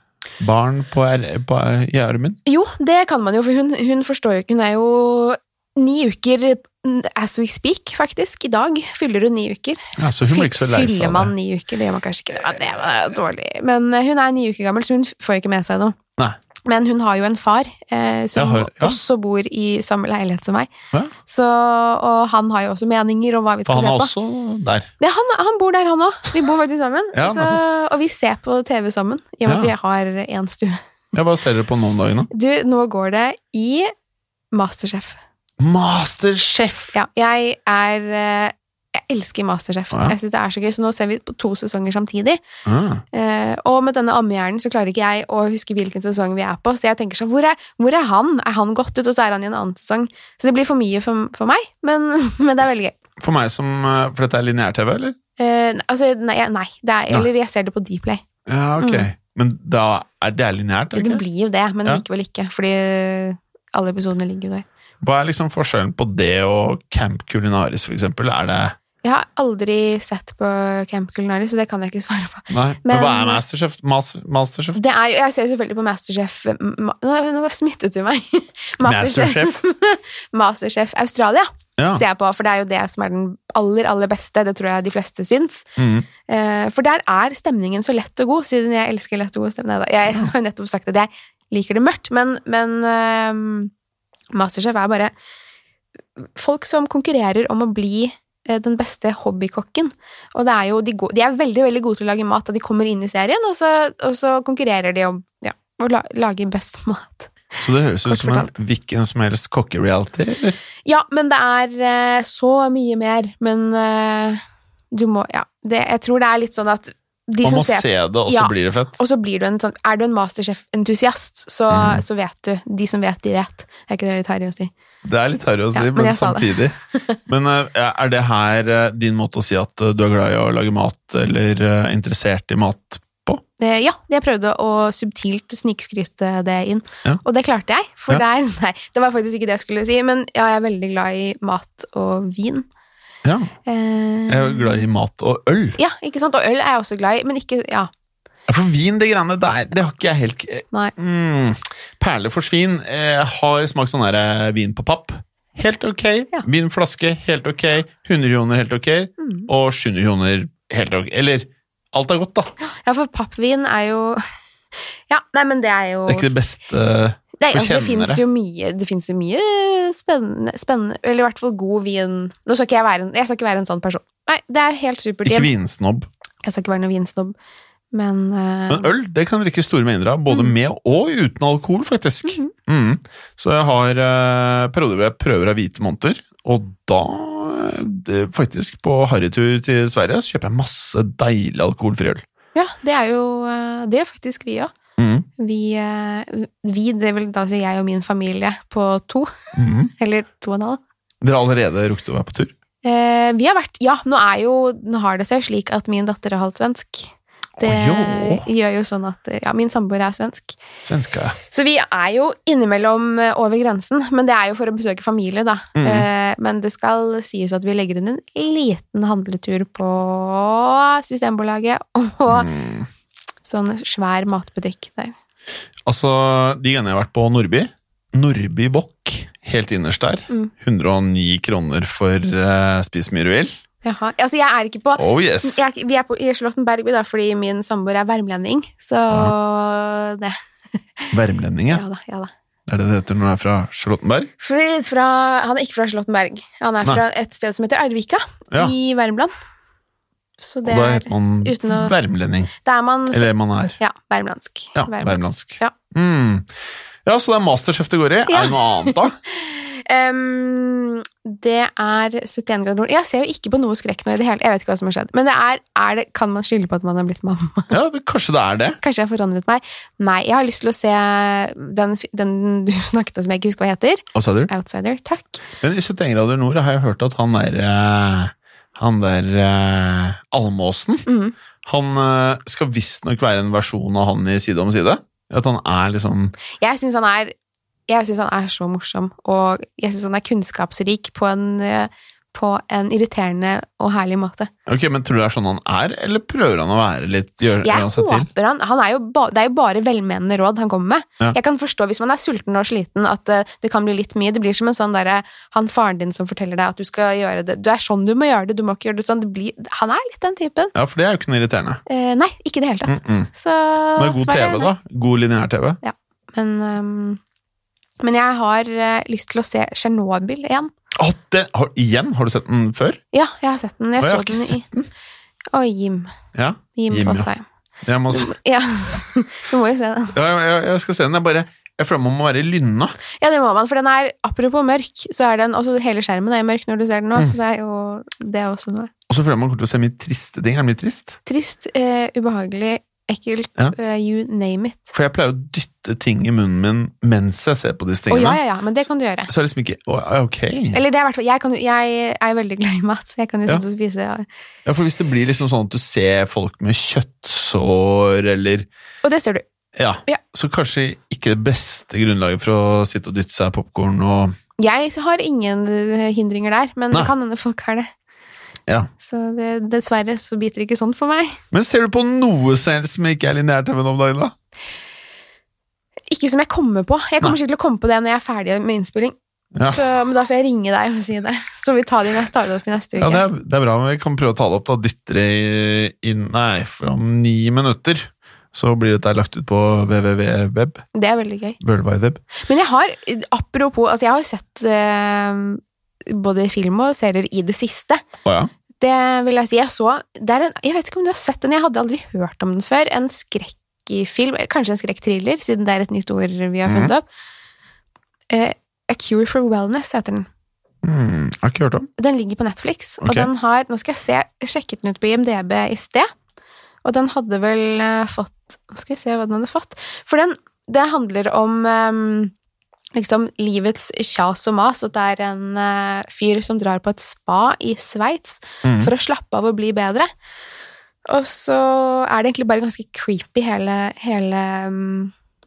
Speaker 1: barn på, er- på, i armen?
Speaker 2: Jo, det kan man jo, for hun, hun forstår jo ikke. Hun er jo ni uker mm, as we speak, faktisk. I dag fyller hun ni uker.
Speaker 1: Ja, så hun blir ikke så lei seg
Speaker 2: Fyller
Speaker 1: av
Speaker 2: man
Speaker 1: det.
Speaker 2: ni uker? Det gjør man kanskje ikke. Ja, det var dårlig. Men eh, hun er ni uker gammel, så hun f- får jo ikke med seg noe.
Speaker 1: Nei.
Speaker 2: Men hun har jo en far eh, som
Speaker 1: Jeg har- ja.
Speaker 2: også bor i samme leilighet som meg.
Speaker 1: Ja.
Speaker 2: Så, og han har jo også meninger om hva vi
Speaker 1: For han
Speaker 2: skal se
Speaker 1: er
Speaker 2: på.
Speaker 1: også der.
Speaker 2: Ja, han, han bor der, han òg. Vi bor faktisk sammen.
Speaker 1: Ja,
Speaker 2: så, og vi ser på TV sammen, i og
Speaker 1: Ja.
Speaker 2: med at vi har én stue.
Speaker 1: Jeg bare ser det på noen dager nå.
Speaker 2: Du, nå går det i Masterchef.
Speaker 1: Masterchef!
Speaker 2: Ja, jeg er eh, Jeg elsker Masterchef.
Speaker 1: Ja.
Speaker 2: Jeg syns det er så gøy, så nå ser vi på to sesonger samtidig.
Speaker 1: Ah.
Speaker 2: Eh, og med denne ammehjernen så klarer ikke jeg å huske hvilken sesong vi er på, så jeg tenker sånn hvor er, hvor er han? Er han gått ut, og så er han i en annen sesong? Så det blir for mye for, for meg, men, men det er veldig gøy.
Speaker 1: For meg som eh, For dette er lineær-TV, eller?
Speaker 2: Eh, altså, nei, nei det er, eller jeg ser det på Dplay.
Speaker 1: Ja, ok. Mm. Men da er det er lineært? er det
Speaker 2: Det
Speaker 1: ikke?
Speaker 2: blir jo det, men
Speaker 1: Ja.
Speaker 2: likevel ikke, fordi alle episodene ligger jo der.
Speaker 1: Hva er liksom forskjellen på det og Camp Culinaris, for eksempel? Er det
Speaker 2: Jeg har aldri sett på Camp Culinary, så det kan jeg ikke svare på.
Speaker 1: Nei, men,
Speaker 2: Men-
Speaker 1: hva er Masterchef? Mas Masterchef?
Speaker 2: Det er, jo- jeg ser jo selvfølgelig på Masterchef ma, Nå nå smittet du meg.
Speaker 1: Masterchef? Ah.
Speaker 2: Masterchef Australia
Speaker 1: Ja.
Speaker 2: ser jeg på, for det er jo det som er den aller, aller beste. Det tror jeg de fleste syns.
Speaker 1: Mm.
Speaker 2: Eh, For der er stemningen så lett og god, siden jeg elsker lett og god stemning. Neida, Jeg har jo nettopp sagt at jeg liker det mørkt, men, men ehm, Masterchef er bare folk som konkurrerer om å bli eh, den beste hobbykokken. Og det er jo, de, go- de er veldig veldig gode til å lage mat da de kommer inn i serien, og så, og så konkurrerer de om ja, å la, lage best mat.
Speaker 1: Så det høres ut
Speaker 2: Kort
Speaker 1: som en hvilken som helst kokkereality, eller?
Speaker 2: Ja, men det er eh, så mye mer. Men eh, du må Ja. Det, jeg tror det er litt sånn at de
Speaker 1: Man
Speaker 2: som
Speaker 1: må
Speaker 2: ser
Speaker 1: se det, og så
Speaker 2: Ja.
Speaker 1: blir det fett.
Speaker 2: Og så blir du en sånn Er du en masterchef-entusiast, så,
Speaker 1: Mhm.
Speaker 2: så vet du. De som vet, de vet. Er ikke det litt harry å si?
Speaker 1: Det er litt harry å si,
Speaker 2: Ja, men
Speaker 1: men,
Speaker 2: jeg sa
Speaker 1: samtidig. men eh, er det her eh, din måte å si at eh, du er glad i å lage mat, eller eh, interessert i mat?
Speaker 2: Eh, ja, jeg prøvde å subtilt snikskryte det inn,
Speaker 1: Ja.
Speaker 2: og det klarte jeg. For
Speaker 1: Ja.
Speaker 2: der Nei, det var faktisk ikke det jeg skulle si, men ja, jeg er veldig glad i mat og vin.
Speaker 1: Ja,
Speaker 2: Eh,
Speaker 1: jeg er glad i mat og øl.
Speaker 2: Ja, ikke sant? Og øl er jeg også glad i, men ikke Ja,
Speaker 1: Ja, For vin, det greiene der, det har ikke jeg helt eh,
Speaker 2: Nei.
Speaker 1: mm, Perle for svin. Jeg har smakt sånn der eh, vin på papp. Helt ok.
Speaker 2: Ja.
Speaker 1: Vinflaske, helt ok. 100 kroner, helt ok.
Speaker 2: Mm.
Speaker 1: Og 700 kroner, helt ok. Eller alt er godt, da.
Speaker 2: ja for pappvin er jo Ja, nei, men det er jo
Speaker 1: Det er ikke det beste eh,
Speaker 2: Nei,
Speaker 1: For
Speaker 2: altså, det
Speaker 1: kjennere.
Speaker 2: finnes jo mye, det finnes jo mye spennende, spennende, eller i hvert fall god vin. Nå skal ikke jeg være en, jeg skal ikke være en sånn person. Nei, det er helt supert.
Speaker 1: Ikke
Speaker 2: Jeg,
Speaker 1: vinsnobb.
Speaker 2: jeg skal ikke være noen vinsnobb, men, eh,
Speaker 1: Men øl det kan drikkes store mengder av,
Speaker 2: Mm.
Speaker 1: både med og uten alkohol, faktisk.
Speaker 2: Mm-hmm.
Speaker 1: Mm. Så jeg har eh, perioder hvor jeg prøver av hvite måneder, og da eh, det, faktisk på harrytur til Sverige så kjøper jeg masse deilig alkoholfri øl.
Speaker 2: ja, det er jo eh, det er faktisk vi òg.
Speaker 1: Mm.
Speaker 2: Vi, eh, vi, det vil da si jeg og min familie på to,
Speaker 1: Mm.
Speaker 2: eller to og en halv.
Speaker 1: Dere har allerede rukket å være på tur?
Speaker 2: Eh, vi har vært, ja, nå er jo, nå har det seg jo slik at min datter er halvt svensk. Det
Speaker 1: Å,
Speaker 2: gjør jo sånn at, eh, ja, min samboer er svensk.
Speaker 1: Svenska.
Speaker 2: Så vi er jo innimellom eh, over grensen, men det er jo for å besøke familie, da.
Speaker 1: Mhm.
Speaker 2: Eh, Men det skal sies at vi legger inn en liten handletur på Systembolaget og
Speaker 1: Mm.
Speaker 2: sånn svær matbutikk der.
Speaker 1: Altså, de gangene jeg har vært på Nordby Nordby Bokk, helt innerst der.
Speaker 2: Mm.
Speaker 1: 109 kroner for eh, spis mye du vil.
Speaker 2: Jaha. Altså, jeg er ikke på
Speaker 1: Oh yes!
Speaker 2: jeg, er ikke- Vi er på, i Slottenbergby, da, fordi min samboer er værmlending, så det
Speaker 1: Värmlänninge.
Speaker 2: Ja da, ja da.
Speaker 1: Er det det heter når det er fra Charlottenberg?
Speaker 2: Fordi fra, han er ikke fra Slottenberg. Han er
Speaker 1: Nei.
Speaker 2: fra et sted som heter Arvika,
Speaker 1: Ja.
Speaker 2: i Värmland. Så det
Speaker 1: og da
Speaker 2: er
Speaker 1: heter man
Speaker 2: uten å-
Speaker 1: värmlending.
Speaker 2: Der er man
Speaker 1: Eller man er
Speaker 2: Ja, värmlandsk.
Speaker 1: ja,
Speaker 2: Värmland.
Speaker 1: värmlandsk.
Speaker 2: Ja.
Speaker 1: Mm. ja, så det er masterchef det går i.
Speaker 2: Ja.
Speaker 1: Er det noe annet, da?
Speaker 2: Ehm, det er 71 grader nord. Jeg ser jo ikke på noe skrekk nå i det hele. Jeg vet ikke hva som har skjedd. Men det er, er det, kan man skylde på at man har blitt mamma?
Speaker 1: Ja, det, Kanskje det er det.
Speaker 2: Kanskje jeg har forandret meg? Nei, jeg har lyst til å se den, fi- den du snakket om som jeg ikke husker hva heter.
Speaker 1: Outsider.
Speaker 2: Outsider. Takk.
Speaker 1: Men i 71 grader nord har jeg hørt at han der eh, Han der eh, Almåsen
Speaker 2: Mhm.
Speaker 1: Han eh, skal visstnok være en versjon av han i Side om side. At han er liksom
Speaker 2: Jeg syns han er Jeg syns han er så morsom, og jeg syns han er kunnskapsrik på en, eh, på en irriterende og herlig måte.
Speaker 1: Ok, men tror du det er sånn han er, eller prøver han å være litt gjøre
Speaker 2: Jeg
Speaker 1: gjøre seg til?
Speaker 2: håper han, han er jo ba, Det er jo bare velmenende råd han kommer med.
Speaker 1: Ja.
Speaker 2: Jeg kan forstå hvis man er sulten og sliten at eh, det kan bli litt mye. Det blir som en sånn derre han faren din som forteller deg at du skal gjøre det. Du er sånn du må gjøre det, du må ikke gjøre det sånn. Det blir, han er litt den typen.
Speaker 1: Ja, for det er jo ikke noe irriterende.
Speaker 2: Eh, nei, ikke i det hele tatt.
Speaker 1: Mm -mm.
Speaker 2: Så
Speaker 1: Men god
Speaker 2: svaret er
Speaker 1: TV,
Speaker 2: nei.
Speaker 1: da. God lineær-TV.
Speaker 2: Men, ehm, men jeg har eh, lyst til å se Tsjernobyl igjen.
Speaker 1: Å, det, har, igjen? Har du sett den før?
Speaker 2: Ja, jeg har sett den. Jeg,
Speaker 1: Å, jeg har
Speaker 2: så
Speaker 1: ikke
Speaker 2: den i Å, Jim.
Speaker 1: Ja,
Speaker 2: Jim,
Speaker 1: Jim, ja.
Speaker 2: Fosheim.
Speaker 1: jeg, må, s-
Speaker 2: Ja. Du må jo se den.
Speaker 1: ja, jeg, jeg- jeg skal se den. Jeg bare jeg føler man må være i lynna.
Speaker 2: Ja, det må man, for den er Apropos mørk, så er den også Hele skjermen er mørk når du ser den nå,
Speaker 1: Mm.
Speaker 2: så det er jo det er også noe.
Speaker 1: Og så føler jeg man kommer til å se mye triste ting. Er det mye trist?
Speaker 2: Trist, eh, ubehagelig, ekkelt,
Speaker 1: Ja.
Speaker 2: eh, you name it.
Speaker 1: For jeg pleier å dytte ting i munnen min mens jeg ser på disse
Speaker 2: Å
Speaker 1: tingene.
Speaker 2: ja, ja, ja, men det kan du gjøre.
Speaker 1: Så er det liksom ikke å, ja, Ok.
Speaker 2: Eller det er i hvert fall jeg, kan jo- jeg er veldig glad i mat, så jeg kan jo
Speaker 1: Ja.
Speaker 2: sitte og spise ja.
Speaker 1: Ja, for hvis det blir liksom sånn at du ser folk med kjøttsår eller
Speaker 2: Og det ser du.
Speaker 1: ja,
Speaker 2: Ja.
Speaker 1: så kanskje ikke det beste grunnlaget for å sitte og dytte seg popkorn og
Speaker 2: Jeg har ingen eh, hindringer der, men
Speaker 1: Nei.
Speaker 2: det kan hende folk har det.
Speaker 1: Ja.
Speaker 2: Så det, dessverre så biter det ikke sånn for meg.
Speaker 1: Men ser du på noe selv som ikke er lineær-TV nå om dagen, da?
Speaker 2: Ikke som jeg kommer på. Jeg kommer
Speaker 1: Nei.
Speaker 2: sikkert til å komme på det når jeg er ferdig med innspilling.
Speaker 1: Ja.
Speaker 2: Så, men da får jeg ringe deg og si det. Så vi tar det, i neste, tar det opp i neste uke.
Speaker 1: Ja, det er, det er bra, men vi kan prøve å ta det opp. da Dytter det inn Nei, for om ni minutter så blir dette lagt ut på www.web.
Speaker 2: det, er veldig gøy.
Speaker 1: World Wide Web.
Speaker 2: Men jeg har, apropos, altså jeg har sett eh, både film og serier i det siste.
Speaker 1: Å ja.
Speaker 2: Det vil jeg si. Jeg så det er en, Jeg vet ikke om du har sett den, jeg hadde aldri hørt om den før. En skrekkfilm, eller kanskje en skrekkthriller, siden det er et nytt ord vi har funnet opp. Eh, A Cure for Wellness heter den.
Speaker 1: Hmm, jeg har ikke hørt om.
Speaker 2: Den ligger på Netflix, og
Speaker 1: Ok.
Speaker 2: den har Nå skal jeg se, jeg sjekket den ut på IMDb i sted, og den hadde vel eh, fått Nå skal vi se hva den hadde fått. For den, det handler om ehm, liksom livets kjas og mas, at det er en eh, fyr som drar på et spa i Sveits
Speaker 1: Hmm.
Speaker 2: for å slappe av og bli bedre. Og så er det egentlig bare ganske creepy hele, hele, mm,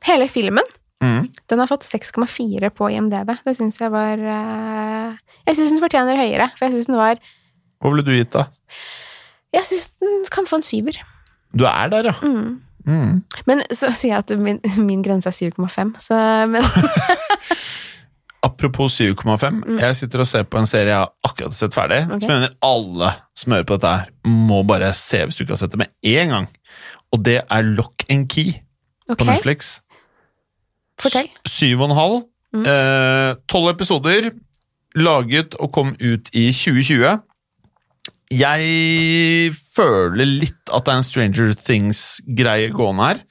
Speaker 2: hele filmen.
Speaker 1: Hmm.
Speaker 2: Den har fått 6,4 på IMDb. Det syns jeg var eh, Jeg syns den fortjener høyere, for jeg syns den var
Speaker 1: Hva ville du gitt, da?
Speaker 2: Jeg syns den kan få en syver.
Speaker 1: Du er der, ja.
Speaker 2: Mm.
Speaker 1: Hmm.
Speaker 2: Men så sier jeg at min, min grense er 7,5, så men,
Speaker 1: Apropos 7,5.
Speaker 2: Mm.
Speaker 1: Jeg sitter og ser på en serie jeg har akkurat sett ferdig.
Speaker 2: Ok.
Speaker 1: Som jeg mener alle som hører på dette her, må bare se hvis du ikke har sett det med én gang. Og det er Lock and Key på
Speaker 2: Ok,
Speaker 1: Netflix.
Speaker 2: fortell.
Speaker 1: S- Syv og en halv.
Speaker 2: Mm.
Speaker 1: Eh, Tolv episoder. Laget og kom ut i 2020. Jeg føler litt at det er en Stranger Things-greie gående her.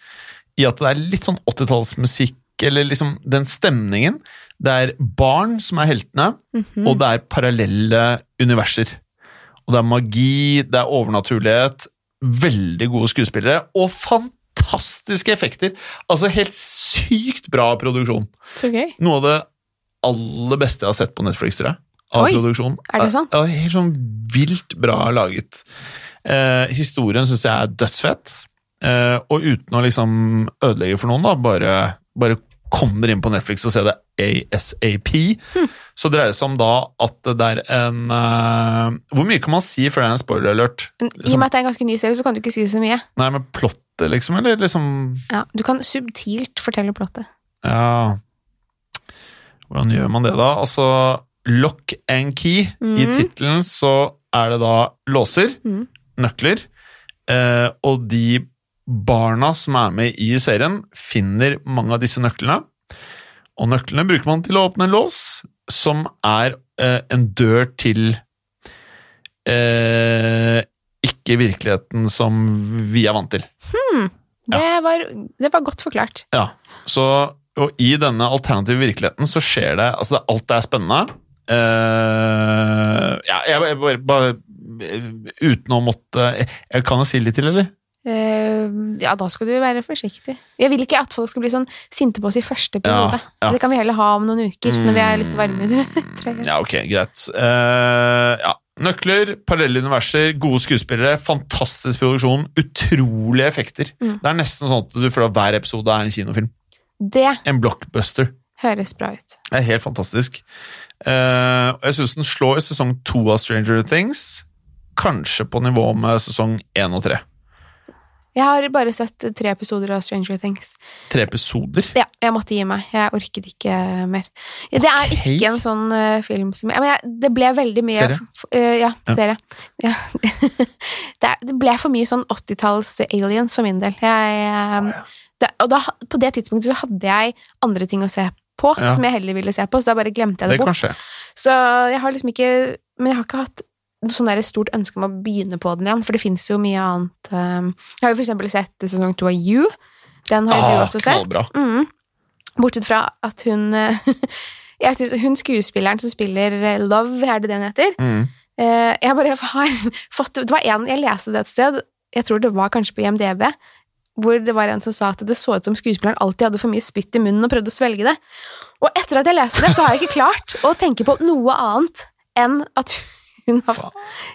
Speaker 1: I at det er litt sånn 80-tallsmusikk, eller liksom den stemningen. Det er barn som er heltene,
Speaker 2: Mhm.
Speaker 1: og det er parallelle universer. Og det er magi, det er overnaturlighet, veldig gode skuespillere, og fantastiske effekter. Altså helt sykt bra produksjon.
Speaker 2: Så gøy.
Speaker 1: Noe av det aller beste jeg har sett på Netflix, tror jeg. Av
Speaker 2: Oi,
Speaker 1: produksjon.
Speaker 2: er det sant?
Speaker 1: Ja, helt sånn vilt bra laget. Eh, historien syns jeg er dødsfett. Eh, og uten å liksom ødelegge for noen, da, bare, bare kom dere inn på Netflix og se det ASAP.
Speaker 2: Hm.
Speaker 1: Så dreier det seg om da at det er en eh, Hvor mye kan man si før det er en spoiler alert?
Speaker 2: Men I og med at det er en ganske ny serie, så kan du ikke si så mye.
Speaker 1: Nei, men plottet, liksom? Eller liksom
Speaker 2: Ja, du kan subtilt fortelle plottet.
Speaker 1: Ja Hvordan gjør man det, da? Altså, lock and key. I
Speaker 2: Mhm.
Speaker 1: tittelen så er det da låser,
Speaker 2: Mhm.
Speaker 1: nøkler, eh, og de barna som er med i serien, finner mange av disse nøklene. Og nøklene bruker man til å åpne en lås, som er eh, en dør til eh, ikke virkeligheten som vi er vant til. Ja.
Speaker 2: Det, var, det var godt forklart.
Speaker 1: Ja, så, og i denne alternative virkeligheten så skjer det Altså, det, alt er spennende. Eh, ja, jeg bare, bare, bare Uten å måtte jeg, jeg kan jo si litt til, eller?
Speaker 2: Eh, ja, da skal du være forsiktig. Jeg vil ikke at folk skal bli sånn sinte på oss i første periode.
Speaker 1: ja. Mm.
Speaker 2: Det kan vi heller ha om noen uker, når vi er litt varme. Tror jeg.
Speaker 1: Ja, ok, greit. Eh, ja. Nøkler, parallelle universer, gode skuespillere, fantastisk produksjon, utrolige effekter.
Speaker 2: Mm.
Speaker 1: Det er nesten sånn at du føler at hver episode er en kinofilm.
Speaker 2: Det
Speaker 1: En blockbuster.
Speaker 2: Høres bra ut.
Speaker 1: Det er helt fantastisk. Eh, og jeg syns den slår sesong to av Stranger Things, kanskje på nivå med sesong én og tre.
Speaker 2: Jeg har bare sett tre episoder av Stranger Things.
Speaker 1: Tre episoder.
Speaker 2: Ja, jeg måtte gi meg. Jeg orket ikke eh, mer. Det er
Speaker 1: Ok.
Speaker 2: ikke en sånn eh, film som ja, men jeg, Det ble veldig mye
Speaker 1: Serie?
Speaker 2: f- eh, ja,
Speaker 1: Ja.
Speaker 2: serie. Ja. det, er- det ble for mye sånn 80-talls aliens for min del. Jeg, eh, det, og da, på det tidspunktet så hadde jeg andre ting å se på
Speaker 1: Ja.
Speaker 2: som jeg heller ville se på, så da bare glemte jeg
Speaker 1: Det
Speaker 2: det bort.
Speaker 1: kan skje.
Speaker 2: Så jeg har liksom ikke Men jeg har ikke hatt noe sånn der stort ønske om å begynne på den igjen, for det fins jo mye annet. eh, Jeg har jo for eksempel sett sesong to av You. Den har jo du
Speaker 1: Ah,
Speaker 2: også sett.
Speaker 1: knallbra.
Speaker 2: Mm. Bortsett fra at hun eh, Jeg synes Hun skuespilleren som spiller eh, Love, er det det hun heter?
Speaker 1: Mm.
Speaker 2: Eh, Jeg bare har fått Det var en jeg leste det et sted, jeg tror det var kanskje på IMDb, hvor det var en som sa at det så ut som skuespilleren alltid hadde for mye spytt i munnen og prøvde å svelge det. Og etter at jeg leste det, så har jeg ikke klart å tenke på noe annet enn at hun har
Speaker 1: Faen.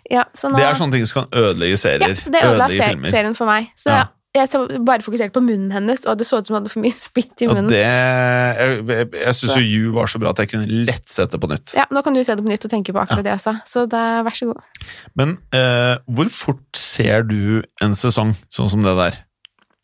Speaker 2: ja, så nå,
Speaker 1: Det er sånne ting som kan ødelegge serier.
Speaker 2: ja, så det ødela
Speaker 1: ødelegge
Speaker 2: se-
Speaker 1: filmer.
Speaker 2: serien for meg. Så
Speaker 1: Ja.
Speaker 2: jeg så bare fokuserte på munnen hennes, og det så ut som hun hadde for mye spytt i
Speaker 1: Og
Speaker 2: munnen.
Speaker 1: det Jeg, jeg, jeg syns jo You var så bra at jeg kunne lett sett det på nytt.
Speaker 2: Ja, nå kan du se det på nytt og tenke på akkurat det jeg sa. Så da, vær så god.
Speaker 1: Men eh, hvor fort ser du en sesong sånn som det der?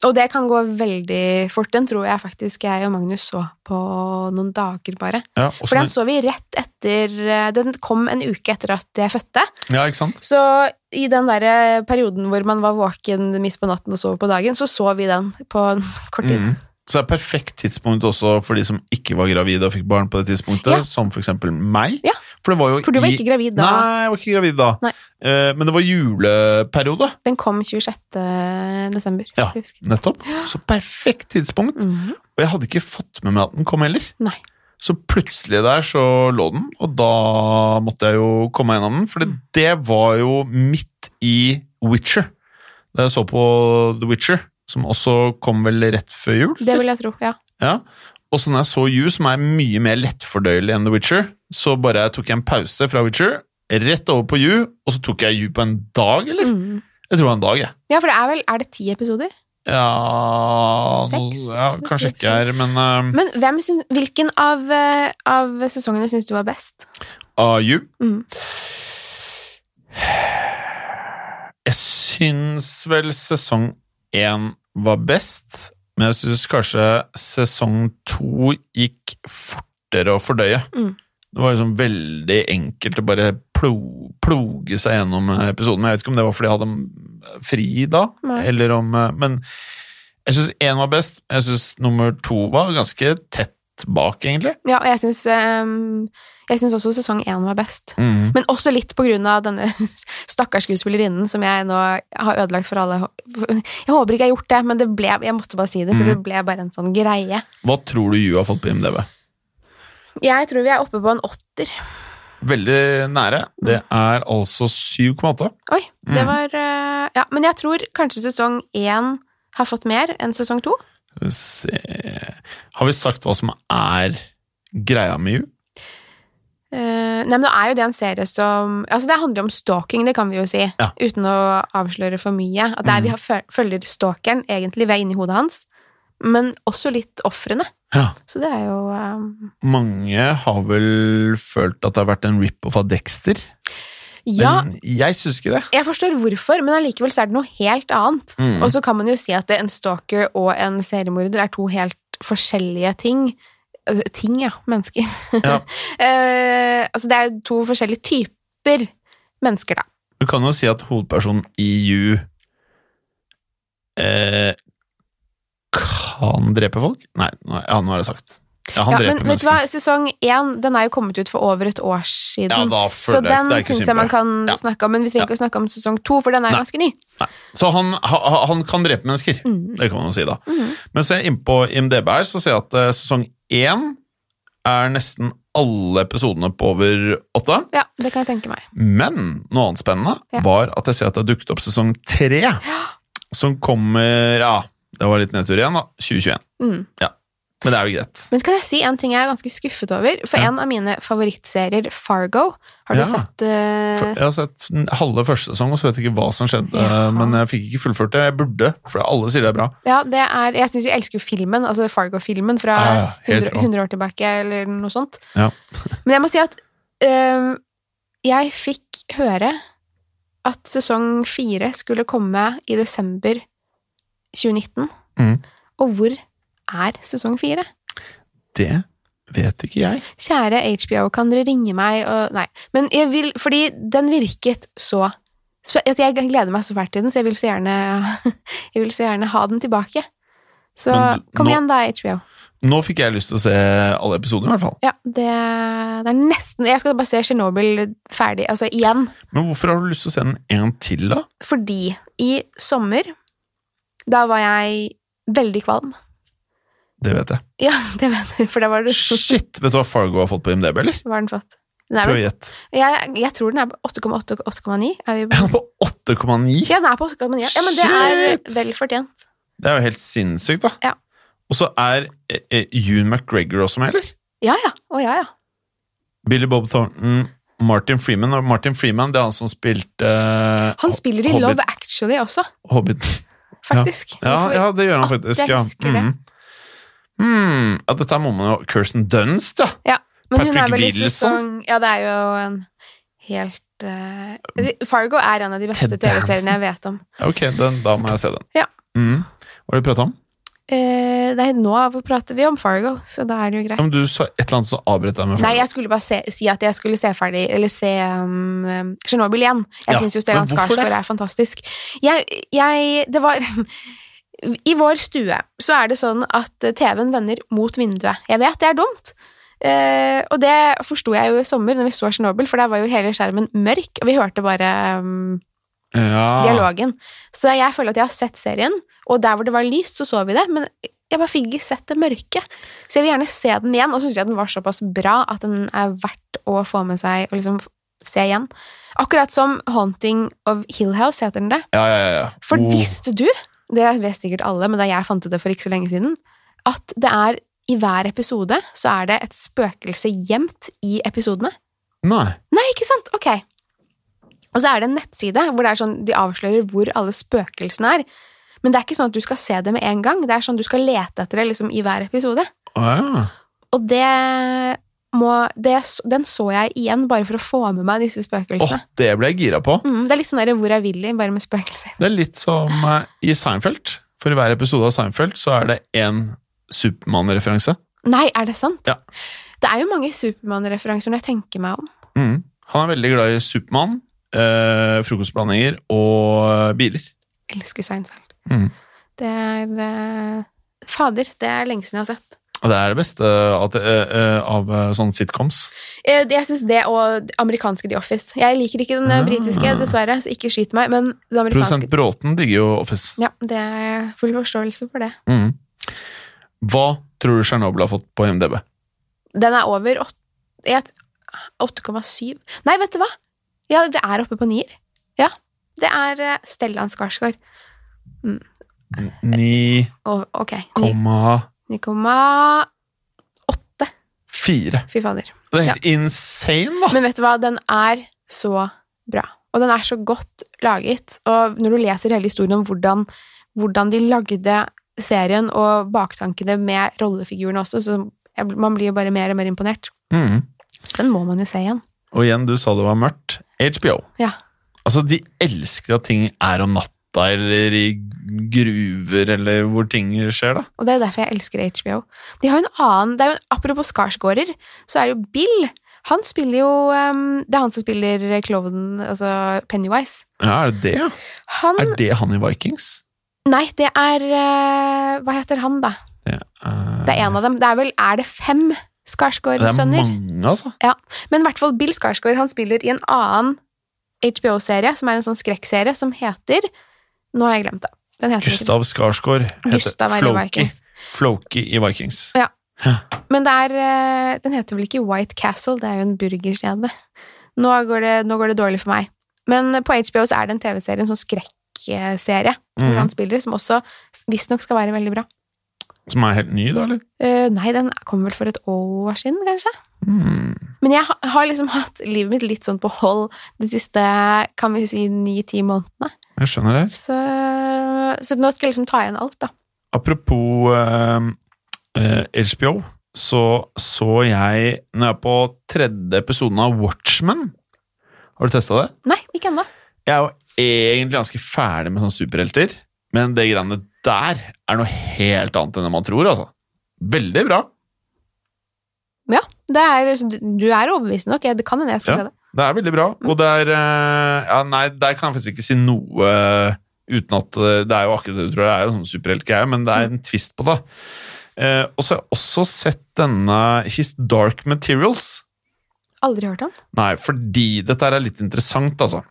Speaker 2: Og det kan gå veldig fort. Den tror jeg faktisk jeg og Magnus så på noen dager, bare.
Speaker 1: Ja,
Speaker 2: For den
Speaker 1: åssen-
Speaker 2: så vi rett etter eh, Den kom en uke etter at jeg fødte.
Speaker 1: ja ikke sant?
Speaker 2: Så i den derre perioden hvor man var våken midt på natten og sov på dagen, så så vi den på en kort tid.
Speaker 1: Mm. Så det er perfekt tidspunkt også for de som ikke var gravide og fikk barn på det tidspunktet,
Speaker 2: Ja.
Speaker 1: som for eksempel meg.
Speaker 2: Ja.
Speaker 1: For det var jo
Speaker 2: For du var
Speaker 1: i-
Speaker 2: ikke gravid da.
Speaker 1: Nei, jeg var ikke gravid da.
Speaker 2: Nei.
Speaker 1: Eh, men det var juleperiode,
Speaker 2: Den kom 26. desember,
Speaker 1: Ja.
Speaker 2: faktisk.
Speaker 1: nettopp. Så perfekt tidspunkt.
Speaker 2: Mhm.
Speaker 1: Og jeg hadde ikke fått med meg at den kom heller.
Speaker 2: Nei.
Speaker 1: Så plutselig der så lå den, og da måtte jeg jo komme meg gjennom den. For det var jo midt i Witcher. Da jeg så på The Witcher, som også kom vel rett før jul.
Speaker 2: Det vil jeg tro, ja.
Speaker 1: Ja. Og så når jeg så You, som er mye mer lettfordøyelig enn The Witcher, så bare tok jeg en pause fra Witcher, rett over på You, og så tok jeg You på en dag, eller?
Speaker 2: Mhm.
Speaker 1: Jeg tror det var en dag, jeg.
Speaker 2: Ja, for det er vel Er det ti episoder?
Speaker 1: Ja,
Speaker 2: Seks,
Speaker 1: ja
Speaker 2: så det
Speaker 1: Kanskje
Speaker 2: tror jeg
Speaker 1: ikke her, men eh,
Speaker 2: Men hvem syn- hvilken av, eh, av sesongene syns du var best?
Speaker 1: av You.
Speaker 2: Mm.
Speaker 1: Jeg syns vel sesong én var best, men jeg syns kanskje sesong to gikk fortere å fordøye.
Speaker 2: Mm.
Speaker 1: Det var liksom veldig enkelt å bare plo, ploge seg gjennom eh, episoden. Men jeg vet ikke om det var fordi jeg hadde eh, fri da,
Speaker 2: Nei.
Speaker 1: eller om eh, Men jeg syns én var best. Jeg syns nummer to var ganske tett bak, egentlig.
Speaker 2: Ja, og jeg syns ehm, Jeg syns også sesong én var best.
Speaker 1: Mm.
Speaker 2: Men også litt på grunn av denne stakkars skuespillerinnen som jeg nå har ødelagt for alle. Jeg håper ikke jeg har gjort det, men det ble, jeg måtte bare si det, for
Speaker 1: Mm.
Speaker 2: det ble bare en sånn greie.
Speaker 1: Hva tror du You har fått på IMDv?
Speaker 2: Jeg tror vi er oppe på en åtter.
Speaker 1: Veldig nære. Det er altså 7,8.
Speaker 2: Oi, det
Speaker 1: Mm.
Speaker 2: var eh, Ja, men jeg tror kanskje sesong én har fått mer enn sesong to.
Speaker 1: Skal vi se Har vi sagt hva som er greia med You?
Speaker 2: Eh, nei, men nå er jo det en serie som Altså, det handler om stalking, det kan vi jo si.
Speaker 1: Ja.
Speaker 2: Uten å avsløre for mye. At det er,
Speaker 1: Mm.
Speaker 2: vi har, føl- følger stalkeren, egentlig, vi er inni hodet hans. Men også litt ofrene.
Speaker 1: Ja.
Speaker 2: Så det er jo eh,
Speaker 1: Mange har vel følt at det har vært en rip-off av Dexter,
Speaker 2: Ja,
Speaker 1: men jeg syns ikke det.
Speaker 2: jeg forstår hvorfor, men allikevel så er det noe helt annet.
Speaker 1: Mm.
Speaker 2: Og så kan man jo si at det, en stalker og en seriemorder er to helt forskjellige ting. Eh, Ting, ja. Mennesker.
Speaker 1: Ja.
Speaker 2: Eh, altså, det er jo to forskjellige typer mennesker, da.
Speaker 1: Du kan jo si at hovedpersonen i You eh, kan drepe folk? Nei, nå- ja, nå har jeg sagt. Ja, han
Speaker 2: ja,
Speaker 1: dreper
Speaker 2: men vet du hva,
Speaker 1: mennesker.
Speaker 2: sesong én den er jo kommet ut for over et år siden.
Speaker 1: Ja, da
Speaker 2: så
Speaker 1: føler jeg
Speaker 2: den
Speaker 1: det er ikke
Speaker 2: syns
Speaker 1: synd
Speaker 2: jeg
Speaker 1: på
Speaker 2: man
Speaker 1: det.
Speaker 2: kan
Speaker 1: Ja.
Speaker 2: snakke om, men vi trenger ikke å snakke om sesong to, for den er jo
Speaker 1: Nei.
Speaker 2: ganske ny.
Speaker 1: Så han, ha- han kan drepe mennesker.
Speaker 2: Mm.
Speaker 1: Det kan man jo si, da.
Speaker 2: Mm.
Speaker 1: Mens jeg er inne på IMDb her, så ser jeg at eh, sesong én er nesten alle episodene på over åtte.
Speaker 2: Ja, det kan jeg tenke meg.
Speaker 1: Men noe annet spennende
Speaker 2: Ja.
Speaker 1: var at jeg ser at det har dukket opp sesong tre, som kommer Ja, det var litt nedtur igjen, da. 2021.
Speaker 2: Mm.
Speaker 1: Ja. Men det er jo greit.
Speaker 2: Men kan jeg si en ting jeg er ganske skuffet over? For
Speaker 1: Ja.
Speaker 2: en av mine favorittserier, Fargo Har du
Speaker 1: Ja.
Speaker 2: sett eh,
Speaker 1: For- Jeg har sett den halve første sesong, og så vet jeg ikke hva som skjedde.
Speaker 2: Ja.
Speaker 1: Men jeg fikk ikke fullført det. Jeg burde, for alle sier det er bra.
Speaker 2: Ja, det er Jeg syns jeg elsker jo filmen, altså Fargo-filmen fra
Speaker 1: Ja, ja, helt
Speaker 2: 100,
Speaker 1: rå.
Speaker 2: 100 år tilbake, eller noe sånt.
Speaker 1: Ja.
Speaker 2: Men jeg må si at øhm, jeg fikk høre at sesong fire skulle komme i desember 2019.
Speaker 1: Mhm.
Speaker 2: Og hvor er sesong fire?
Speaker 1: Det vet ikke jeg.
Speaker 2: Kjære HBO, kan dere ringe meg og Nei. Men jeg vil Fordi den virket så spe- altså Jeg gleder meg så fælt til den, så jeg vil så gjerne Jeg vil så gjerne ha den tilbake. Så
Speaker 1: Men du-
Speaker 2: kom
Speaker 1: nå-
Speaker 2: igjen, da, HBO.
Speaker 1: Nå fikk jeg lyst til å se alle episodene, i hvert fall.
Speaker 2: Ja, det, det er nesten Jeg skal bare se Tsjernobyl ferdig, altså igjen.
Speaker 1: Men hvorfor har du lyst til å se den en til, da?
Speaker 2: Fordi i sommer Da var jeg veldig kvalm.
Speaker 1: Det vet jeg.
Speaker 2: Ja, det vet du, for da var det
Speaker 1: Shit! Vet du hva Fargo har fått på IMDb, eller?
Speaker 2: Var den flott? Den er
Speaker 1: Prøv å
Speaker 2: vel,
Speaker 1: gjette.
Speaker 2: jeg, jeg tror den er på 8,8 8,9. Er vi på
Speaker 1: Er han på 8,9?
Speaker 2: Ja, den er på Oscar, men ja. ja men det er eh,
Speaker 1: Shit!
Speaker 2: vel fortjent.
Speaker 1: Det er jo helt sinnssykt, da.
Speaker 2: Ja.
Speaker 1: Og så er eh, eh, Ewan McGregor også med, eller?
Speaker 2: Ja, ja. Å, ja, ja.
Speaker 1: Billy Bob Thornton, Martin Freeman. Og Martin Freeman det er han som spilte eh,
Speaker 2: Han spiller i
Speaker 1: Hobbit.
Speaker 2: Love Actually også,
Speaker 1: Hobbit.
Speaker 2: faktisk.
Speaker 1: Ja,
Speaker 2: Hvorfor-
Speaker 1: ja, det gjør han
Speaker 2: At
Speaker 1: faktisk.
Speaker 2: jeg
Speaker 1: Ja.
Speaker 2: husker det.
Speaker 1: Mm. Mm. ja, dette må man jo Kirsten Dunst, da!
Speaker 2: men hun er
Speaker 1: Patrick
Speaker 2: vel i
Speaker 1: Wilson.
Speaker 2: sesong Ja, det er jo en helt eh, Fargo er en av de beste
Speaker 1: Ted Danson.
Speaker 2: TV-seriene jeg vet om.
Speaker 1: Ja, Ok, den, da må jeg se den.
Speaker 2: Ja.
Speaker 1: Mm. Hva har du prata om?
Speaker 2: Eh, nei, nå prater vi om Fargo, så da er det jo greit.
Speaker 1: Ja, men du sa et eller annet som avbrøt deg med
Speaker 2: Nei, jeg skulle bare se, si at jeg skulle se ferdig Eller se um, um, Tsjernobyl igjen. Jeg
Speaker 1: Ja,
Speaker 2: synes syns jo Stellan
Speaker 1: men hvorfor
Speaker 2: Skarsgård
Speaker 1: det?
Speaker 2: er fantastisk. Jeg, jeg Det var I vår stue så er det sånn at TV-en vender mot vinduet. Jeg vet det er dumt. Eh, og det forsto jeg jo i sommer når vi så Tsjernobyl, for der var jo hele skjermen mørk, og vi hørte bare um,
Speaker 1: ja.
Speaker 2: dialogen. Så jeg føler at jeg har sett serien, og der hvor det var lyst, så så vi det. Men jeg bare fikk ikke sett det mørke. Så jeg vil gjerne se den igjen, og så syns jeg den var såpass bra at den er verdt å få med seg og liksom f- se igjen. Akkurat som Haunting of Hillhouse heter den det.
Speaker 1: ja, ja, ja.
Speaker 2: For
Speaker 1: Oh.
Speaker 2: visste du, det vet sikkert alle, men da jeg fant ut det for ikke så lenge siden, at det er i hver episode så er det et spøkelse gjemt i episodene.
Speaker 1: Oh, Nei.
Speaker 2: Nei, ikke sant? Ok. Og så er det en nettside hvor det er sånn, de avslører hvor alle spøkelsene er. Men det er ikke sånn at du skal se det med en gang. Det er sånn du skal lete etter det liksom, i hver episode.
Speaker 1: Å, ja.
Speaker 2: Og det må det, Den så jeg igjen bare for å få med meg disse
Speaker 1: Åh,
Speaker 2: spøkelsene.
Speaker 1: det ble jeg gira på.
Speaker 2: Mm, det er litt sånn der, hvor er Willy, bare med spøkelser.
Speaker 1: Det er litt som eh, i Seinfeld. For i hver episode av Seinfeld så er det én Supermann-referanse.
Speaker 2: Nei, er det sant?
Speaker 1: Ja.
Speaker 2: Det er jo mange Supermann-referanser når jeg tenker meg om.
Speaker 1: Mm. Han er veldig glad i Supermann, eh, frokostblandinger og eh, biler.
Speaker 2: Jeg elsker Seinfeld.
Speaker 1: Mm.
Speaker 2: Det er eh, Fader, det er lenge siden jeg har sett.
Speaker 1: Og det er det beste at, eh, eh, av eh, sånne sitcoms.
Speaker 2: Eh, det- Jeg syns det og det amerikanske The Office. Jeg liker ikke den eh,
Speaker 1: Ah.
Speaker 2: britiske, dessverre, så ikke skyt meg, men det
Speaker 1: Produsent
Speaker 2: amerikanske
Speaker 1: Bråten digger jo Office.
Speaker 2: Ja, det er full forståelse for det.
Speaker 1: Mm. Hva tror du Tsjernobyl har fått på IMDb?
Speaker 2: Den er over åt- jeg t- 8,7 Nei, vet du hva? Ja, det er oppe på nier. Ja. Det er eh, Stellan Skarsgård. Og, ok. ni-
Speaker 1: 9,4.
Speaker 2: 9,8. Fy fader.
Speaker 1: Det er helt insane, da!
Speaker 2: Men vet du hva, den er så bra. Og den er så godt laget. Og når du leser hele historien om hvordan, hvordan de lagde serien, og baktankene med rollefigurene også, så jeg, man blir jo bare mer og mer imponert.
Speaker 1: Mm.
Speaker 2: Så den må man jo se igjen.
Speaker 1: Og igjen, du sa det var mørkt. HBO.
Speaker 2: Ja.
Speaker 1: Altså, de elsker at ting er om natta, eller i gruver, eller hvor ting skjer, da.
Speaker 2: Og det er jo derfor jeg elsker HBO. De har jo en annen det er jo en, Apropos Skarsgårder, så er det jo Bill. Han spiller jo ehm, Det er han som spiller klovnen, altså Pennywise.
Speaker 1: Ja, er det det, ja?
Speaker 2: Han
Speaker 1: Er det han i Vikings?
Speaker 2: Nei, det er eh, Hva heter han, da? Det er en av dem. Det er vel Er det fem
Speaker 1: Eh, Det
Speaker 2: Skarsgård-sønner?
Speaker 1: er mange, altså.
Speaker 2: Men i hvert fall Bill Skarsgård han spiller i en annen HBO-serie, som er en sånn skrekkserie, som heter Nå har jeg glemt det. Den heter ikke det.
Speaker 1: Gustav Skarsgård heter
Speaker 2: Gustav er i
Speaker 1: Floki.
Speaker 2: Vikings.
Speaker 1: Floki i Vikings.
Speaker 2: Men det er eh, Den heter vel ikke White Castle, det er jo en burgerkjede. Nå går det, nå går det dårlig for meg. Men på HBO så er det en TV-serie, en sånn skrekkserie, hvor
Speaker 1: Mhm.
Speaker 2: han spiller, som også visstnok skal være veldig bra.
Speaker 1: Som er helt ny, da, eller?
Speaker 2: Eh, nei, den kom vel for et år siden, kanskje?
Speaker 1: Hmm.
Speaker 2: Men jeg ha- har liksom hatt livet mitt litt sånn på hold de siste, kan vi si, ni-ti månedene.
Speaker 1: Jeg skjønner det.
Speaker 2: Så, så nå skal jeg liksom ta igjen alt, da.
Speaker 1: Apropos eh, eh, HBO, så så jeg Når jeg er på tredje episoden av Watchmen Har du testa det?
Speaker 2: Nei, ikke ennå.
Speaker 1: Jeg er jo egentlig ganske ferdig med sånne superhelter, men det greiene der er noe helt annet enn det man tror, altså. Veldig bra.
Speaker 2: Det er, så du- du er overbevisende nok. Jeg, det kan hende jeg skal
Speaker 1: Ja.
Speaker 2: se det.
Speaker 1: Det er veldig bra, og det er eh, Ja, nei, der kan jeg faktisk ikke si noe eh, uten at eh, Det er jo akkurat det du tror, det er jo sånn superheltgreie, men det er en twist på det. Eh, og så har jeg også sett denne His Dark Materials.
Speaker 2: Aldri hørt om.
Speaker 1: Nei, fordi dette her er litt interessant, altså.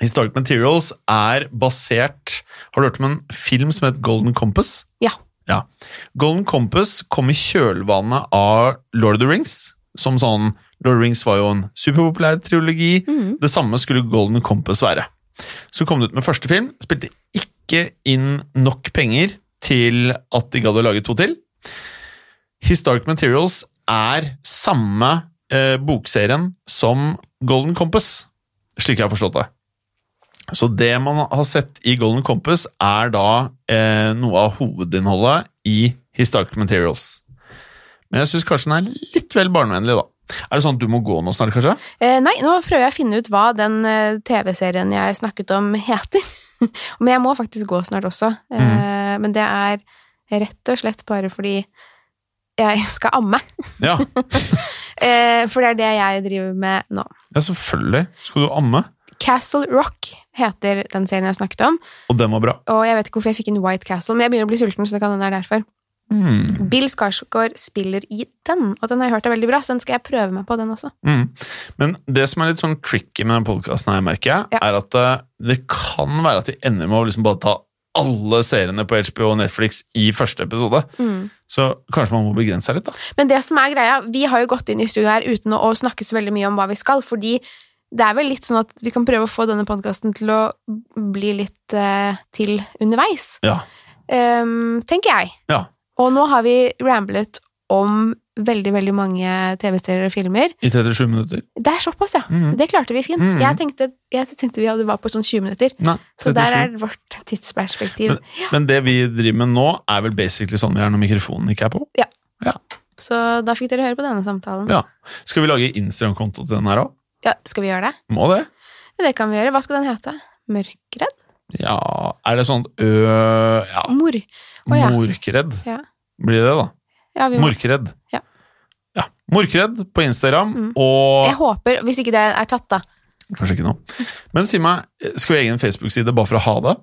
Speaker 1: Historic Materials er basert Har du hørt om en film som heter Golden Compass?
Speaker 2: Ja.
Speaker 1: ja. Golden Compass kom i kjølvannet av Lord of the Rings. Som sånn Lord of the Rings var jo en superpopulær triologi.
Speaker 2: Mhm.
Speaker 1: Det samme skulle Golden Compass være. Så kom det ut med første film, spilte ikke inn nok penger til at de gadd å lage to til. Historic Materials er samme eh, bokserien som Golden Compass, slik jeg har forstått det. Så det man har sett i Golden Compass, er da eh, noe av hovedinnholdet i Historic Materials. Men jeg syns kanskje den er litt vel barnevennlig, da. Er det sånn at du må gå nå snart, kanskje?
Speaker 2: Eh, nei, nå prøver jeg å finne ut hva den eh, TV-serien jeg snakket om, heter. Men jeg må faktisk gå snart også. Eh, Men det er rett og slett bare fordi jeg skal amme.
Speaker 1: Ja,
Speaker 2: Eh, for det er det jeg driver med nå.
Speaker 1: ja selvfølgelig. Skal du amme?
Speaker 2: Castle Rock heter den serien jeg snakket om.
Speaker 1: Og den var bra.
Speaker 2: Og jeg vet ikke hvorfor jeg fikk inn White Castle, men jeg begynner å bli sulten, så det kan hende det er derfor.
Speaker 1: Mm.
Speaker 2: Bill Skarsgård spiller i den, og den har jeg hørt er veldig bra, så den skal jeg prøve meg på, den også.
Speaker 1: Mm. Men det som er litt sånn tricky med denne podkasten, merker jeg,
Speaker 2: Ja.
Speaker 1: er at eh, det kan være at vi ender med å liksom bare ta alle seriene på HBO og Netflix i første episode.
Speaker 2: Mm.
Speaker 1: Så kanskje man må begrense seg litt, da.
Speaker 2: Men det som er greia, vi har jo gått inn i studio her uten å, å snakke så veldig mye om hva vi skal, fordi det er vel litt sånn at vi kan prøve å få denne podkasten til å bli litt eh, til underveis,
Speaker 1: Ja.
Speaker 2: ehm, tenker jeg.
Speaker 1: Ja.
Speaker 2: Og nå har vi ramblet om veldig, veldig mange TV-serier og filmer.
Speaker 1: I 37 minutter.
Speaker 2: Det er såpass, ja.
Speaker 1: Mhm.
Speaker 2: Det klarte vi fint.
Speaker 1: Mhm.
Speaker 2: Jeg, tenkte, jeg tenkte vi hadde var på sånn 20 minutter,
Speaker 1: Nei,
Speaker 2: så
Speaker 1: 37.
Speaker 2: der er vårt tidsperspektiv.
Speaker 1: Men det vi driver med nå, er vel basically sånn vi er når mikrofonen ikke er på.
Speaker 2: Så da fikk dere høre på denne samtalen.
Speaker 1: Ja. Skal vi lage Instagram-konto til den her òg?
Speaker 2: Ja, skal vi gjøre det?
Speaker 1: Må det?
Speaker 2: Det kan vi gjøre. Hva skal den hete? Mørkredd?
Speaker 1: Ja Er det sånn ø... Ja,
Speaker 2: Mor. Å, ja.
Speaker 1: morkredd
Speaker 2: Ja.
Speaker 1: blir det, da.
Speaker 2: Ja, vi må.
Speaker 1: Morkredd.
Speaker 2: Ja.
Speaker 1: Ja, Morkredd på Instagram,
Speaker 2: Mm.
Speaker 1: og
Speaker 2: Jeg håper, hvis ikke det er tatt, da.
Speaker 1: Kanskje ikke nå. Men si meg, skal vi ha egen Facebook-side bare for å ha det?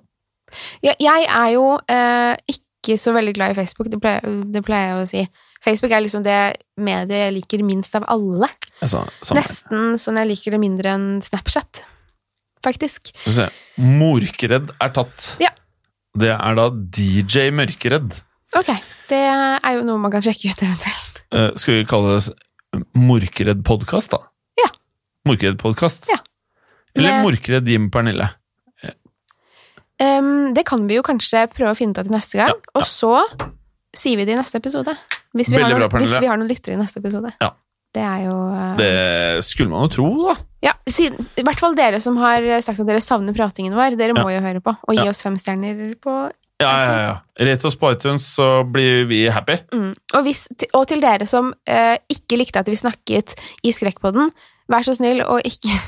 Speaker 2: Jeg, jeg er jo eh, ikke så veldig glad i Facebook, det pleier, det pleier jeg å si. Facebook er liksom det mediet jeg liker minst av alle.
Speaker 1: Altså, sånn.
Speaker 2: Nesten sånn jeg liker det mindre enn Snapchat, faktisk.
Speaker 1: Så ser jeg, Morkredd er tatt.
Speaker 2: Ja.
Speaker 1: Det er da DJ Mørkeredd.
Speaker 2: Ok, det er jo noe man kan sjekke ut eventuelt.
Speaker 1: Eh, skal vi kalle det Morkredd podkast, da?
Speaker 2: Ja.
Speaker 1: Morkredd podkast?
Speaker 2: Ja.
Speaker 1: Eller
Speaker 2: Med-
Speaker 1: Morkredd Jim Pernille.
Speaker 2: Em, det kan vi jo kanskje prøve å finne ut av til neste gang, og så sier vi det i neste episode. Hvis vi, har
Speaker 1: Veldig bra,
Speaker 2: noen, hvis
Speaker 1: Pernille.
Speaker 2: vi har noen lyttere i neste episode.
Speaker 1: Ja.
Speaker 2: Det er jo eh,
Speaker 1: Det skulle man jo tro, da.
Speaker 2: Ja, siden, I hvert fall dere som har sagt at dere savner pratingen vår. Dere må jo høre på, og gi
Speaker 1: Ja.
Speaker 2: oss fem stjerner på
Speaker 1: Ja, ja, ja. Rate oss på iTunes, så blir vi happy.
Speaker 2: mm. og, hvis, og til dere som eh, ikke likte at vi snakket i Skrekkpodden, vær så snill og ikke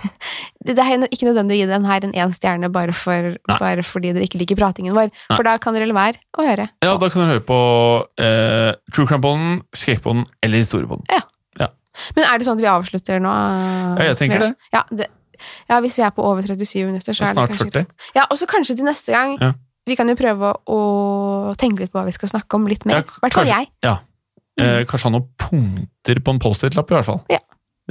Speaker 2: Det er ikke nødvendig å gi den her en én stjerne bare, for,
Speaker 1: Nei.
Speaker 2: bare fordi dere ikke liker pratingen vår,
Speaker 1: Nei.
Speaker 2: for da kan dere la være å høre.
Speaker 1: Ja, da kan du høre på eh, True Crime-podden, Skrekkpodden eller Historiepodden.
Speaker 2: Men er det sånn at vi avslutter nå?
Speaker 1: Ja, jeg tenker det.
Speaker 2: Ja, det. ja, hvis vi er på over 37 minutter, så er det
Speaker 1: Snart
Speaker 2: kanskje
Speaker 1: 40.
Speaker 2: Ja, og så kanskje til neste gang
Speaker 1: Ja.
Speaker 2: Vi kan jo prøve å tenke litt på hva vi skal snakke om litt
Speaker 1: Ja,
Speaker 2: mer. I
Speaker 1: k-
Speaker 2: hvert fall
Speaker 1: kanskje.
Speaker 2: jeg.
Speaker 1: Ja. Eh, kanskje ha noen punkter på en Post-It-lapp, i hvert fall.
Speaker 2: Ja.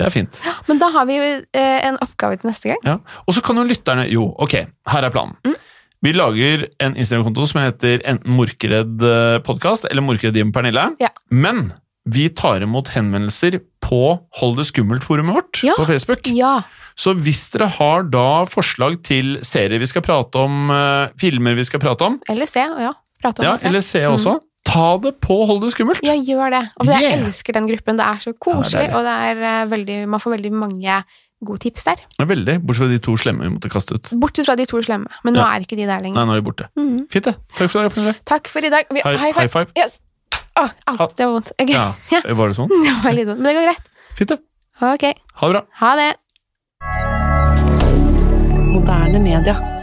Speaker 1: Det er fint.
Speaker 2: Men da har vi jo eh, en oppgave til neste gang.
Speaker 1: Ja. Og så kan jo lytterne Jo, ok, her er planen.
Speaker 2: Mm.
Speaker 1: Vi lager en Instagram-konto som heter enten Morkeredd eh, podkast eller Morkeredd Jim Pernille.
Speaker 2: Ja.
Speaker 1: Men vi tar imot henvendelser på Hold det skummelt-forumet vårt
Speaker 2: Ja.
Speaker 1: på Facebook.
Speaker 2: Ja.
Speaker 1: Så hvis dere har da forslag til serier vi skal prate om, eh, filmer vi skal prate om,
Speaker 2: Eller se. Ja. Prate om
Speaker 1: ja, Mm.
Speaker 2: det.
Speaker 1: eller se også, Ta det på Hold det skummelt!
Speaker 2: Ja, gjør det. Og jeg
Speaker 1: Yeah.
Speaker 2: elsker den gruppen. Det er så koselig,
Speaker 1: deilig.
Speaker 2: og det er eh, veldig, man får veldig mange gode tips der.
Speaker 1: Veldig. Bortsett fra de to slemme vi måtte kaste ut.
Speaker 2: Bortsett fra de to slemme, men nå
Speaker 1: Ja.
Speaker 2: er ikke de der
Speaker 1: Nei,
Speaker 2: lenger.
Speaker 1: nå er de borte.
Speaker 2: Mhm.
Speaker 1: Fint, det. Takk for i dag, Pernille.
Speaker 2: Takk for i dag. Vi,
Speaker 1: High, high five.
Speaker 2: Yes. Å, au,
Speaker 1: Ha-
Speaker 2: det var vondt. Ok.
Speaker 1: Ja. Var det sånn?
Speaker 2: det var litt vondt, men det går greit.
Speaker 1: Fint, det.
Speaker 2: Ok,
Speaker 1: Ha det bra.
Speaker 2: ha det.
Speaker 3: Moderne media.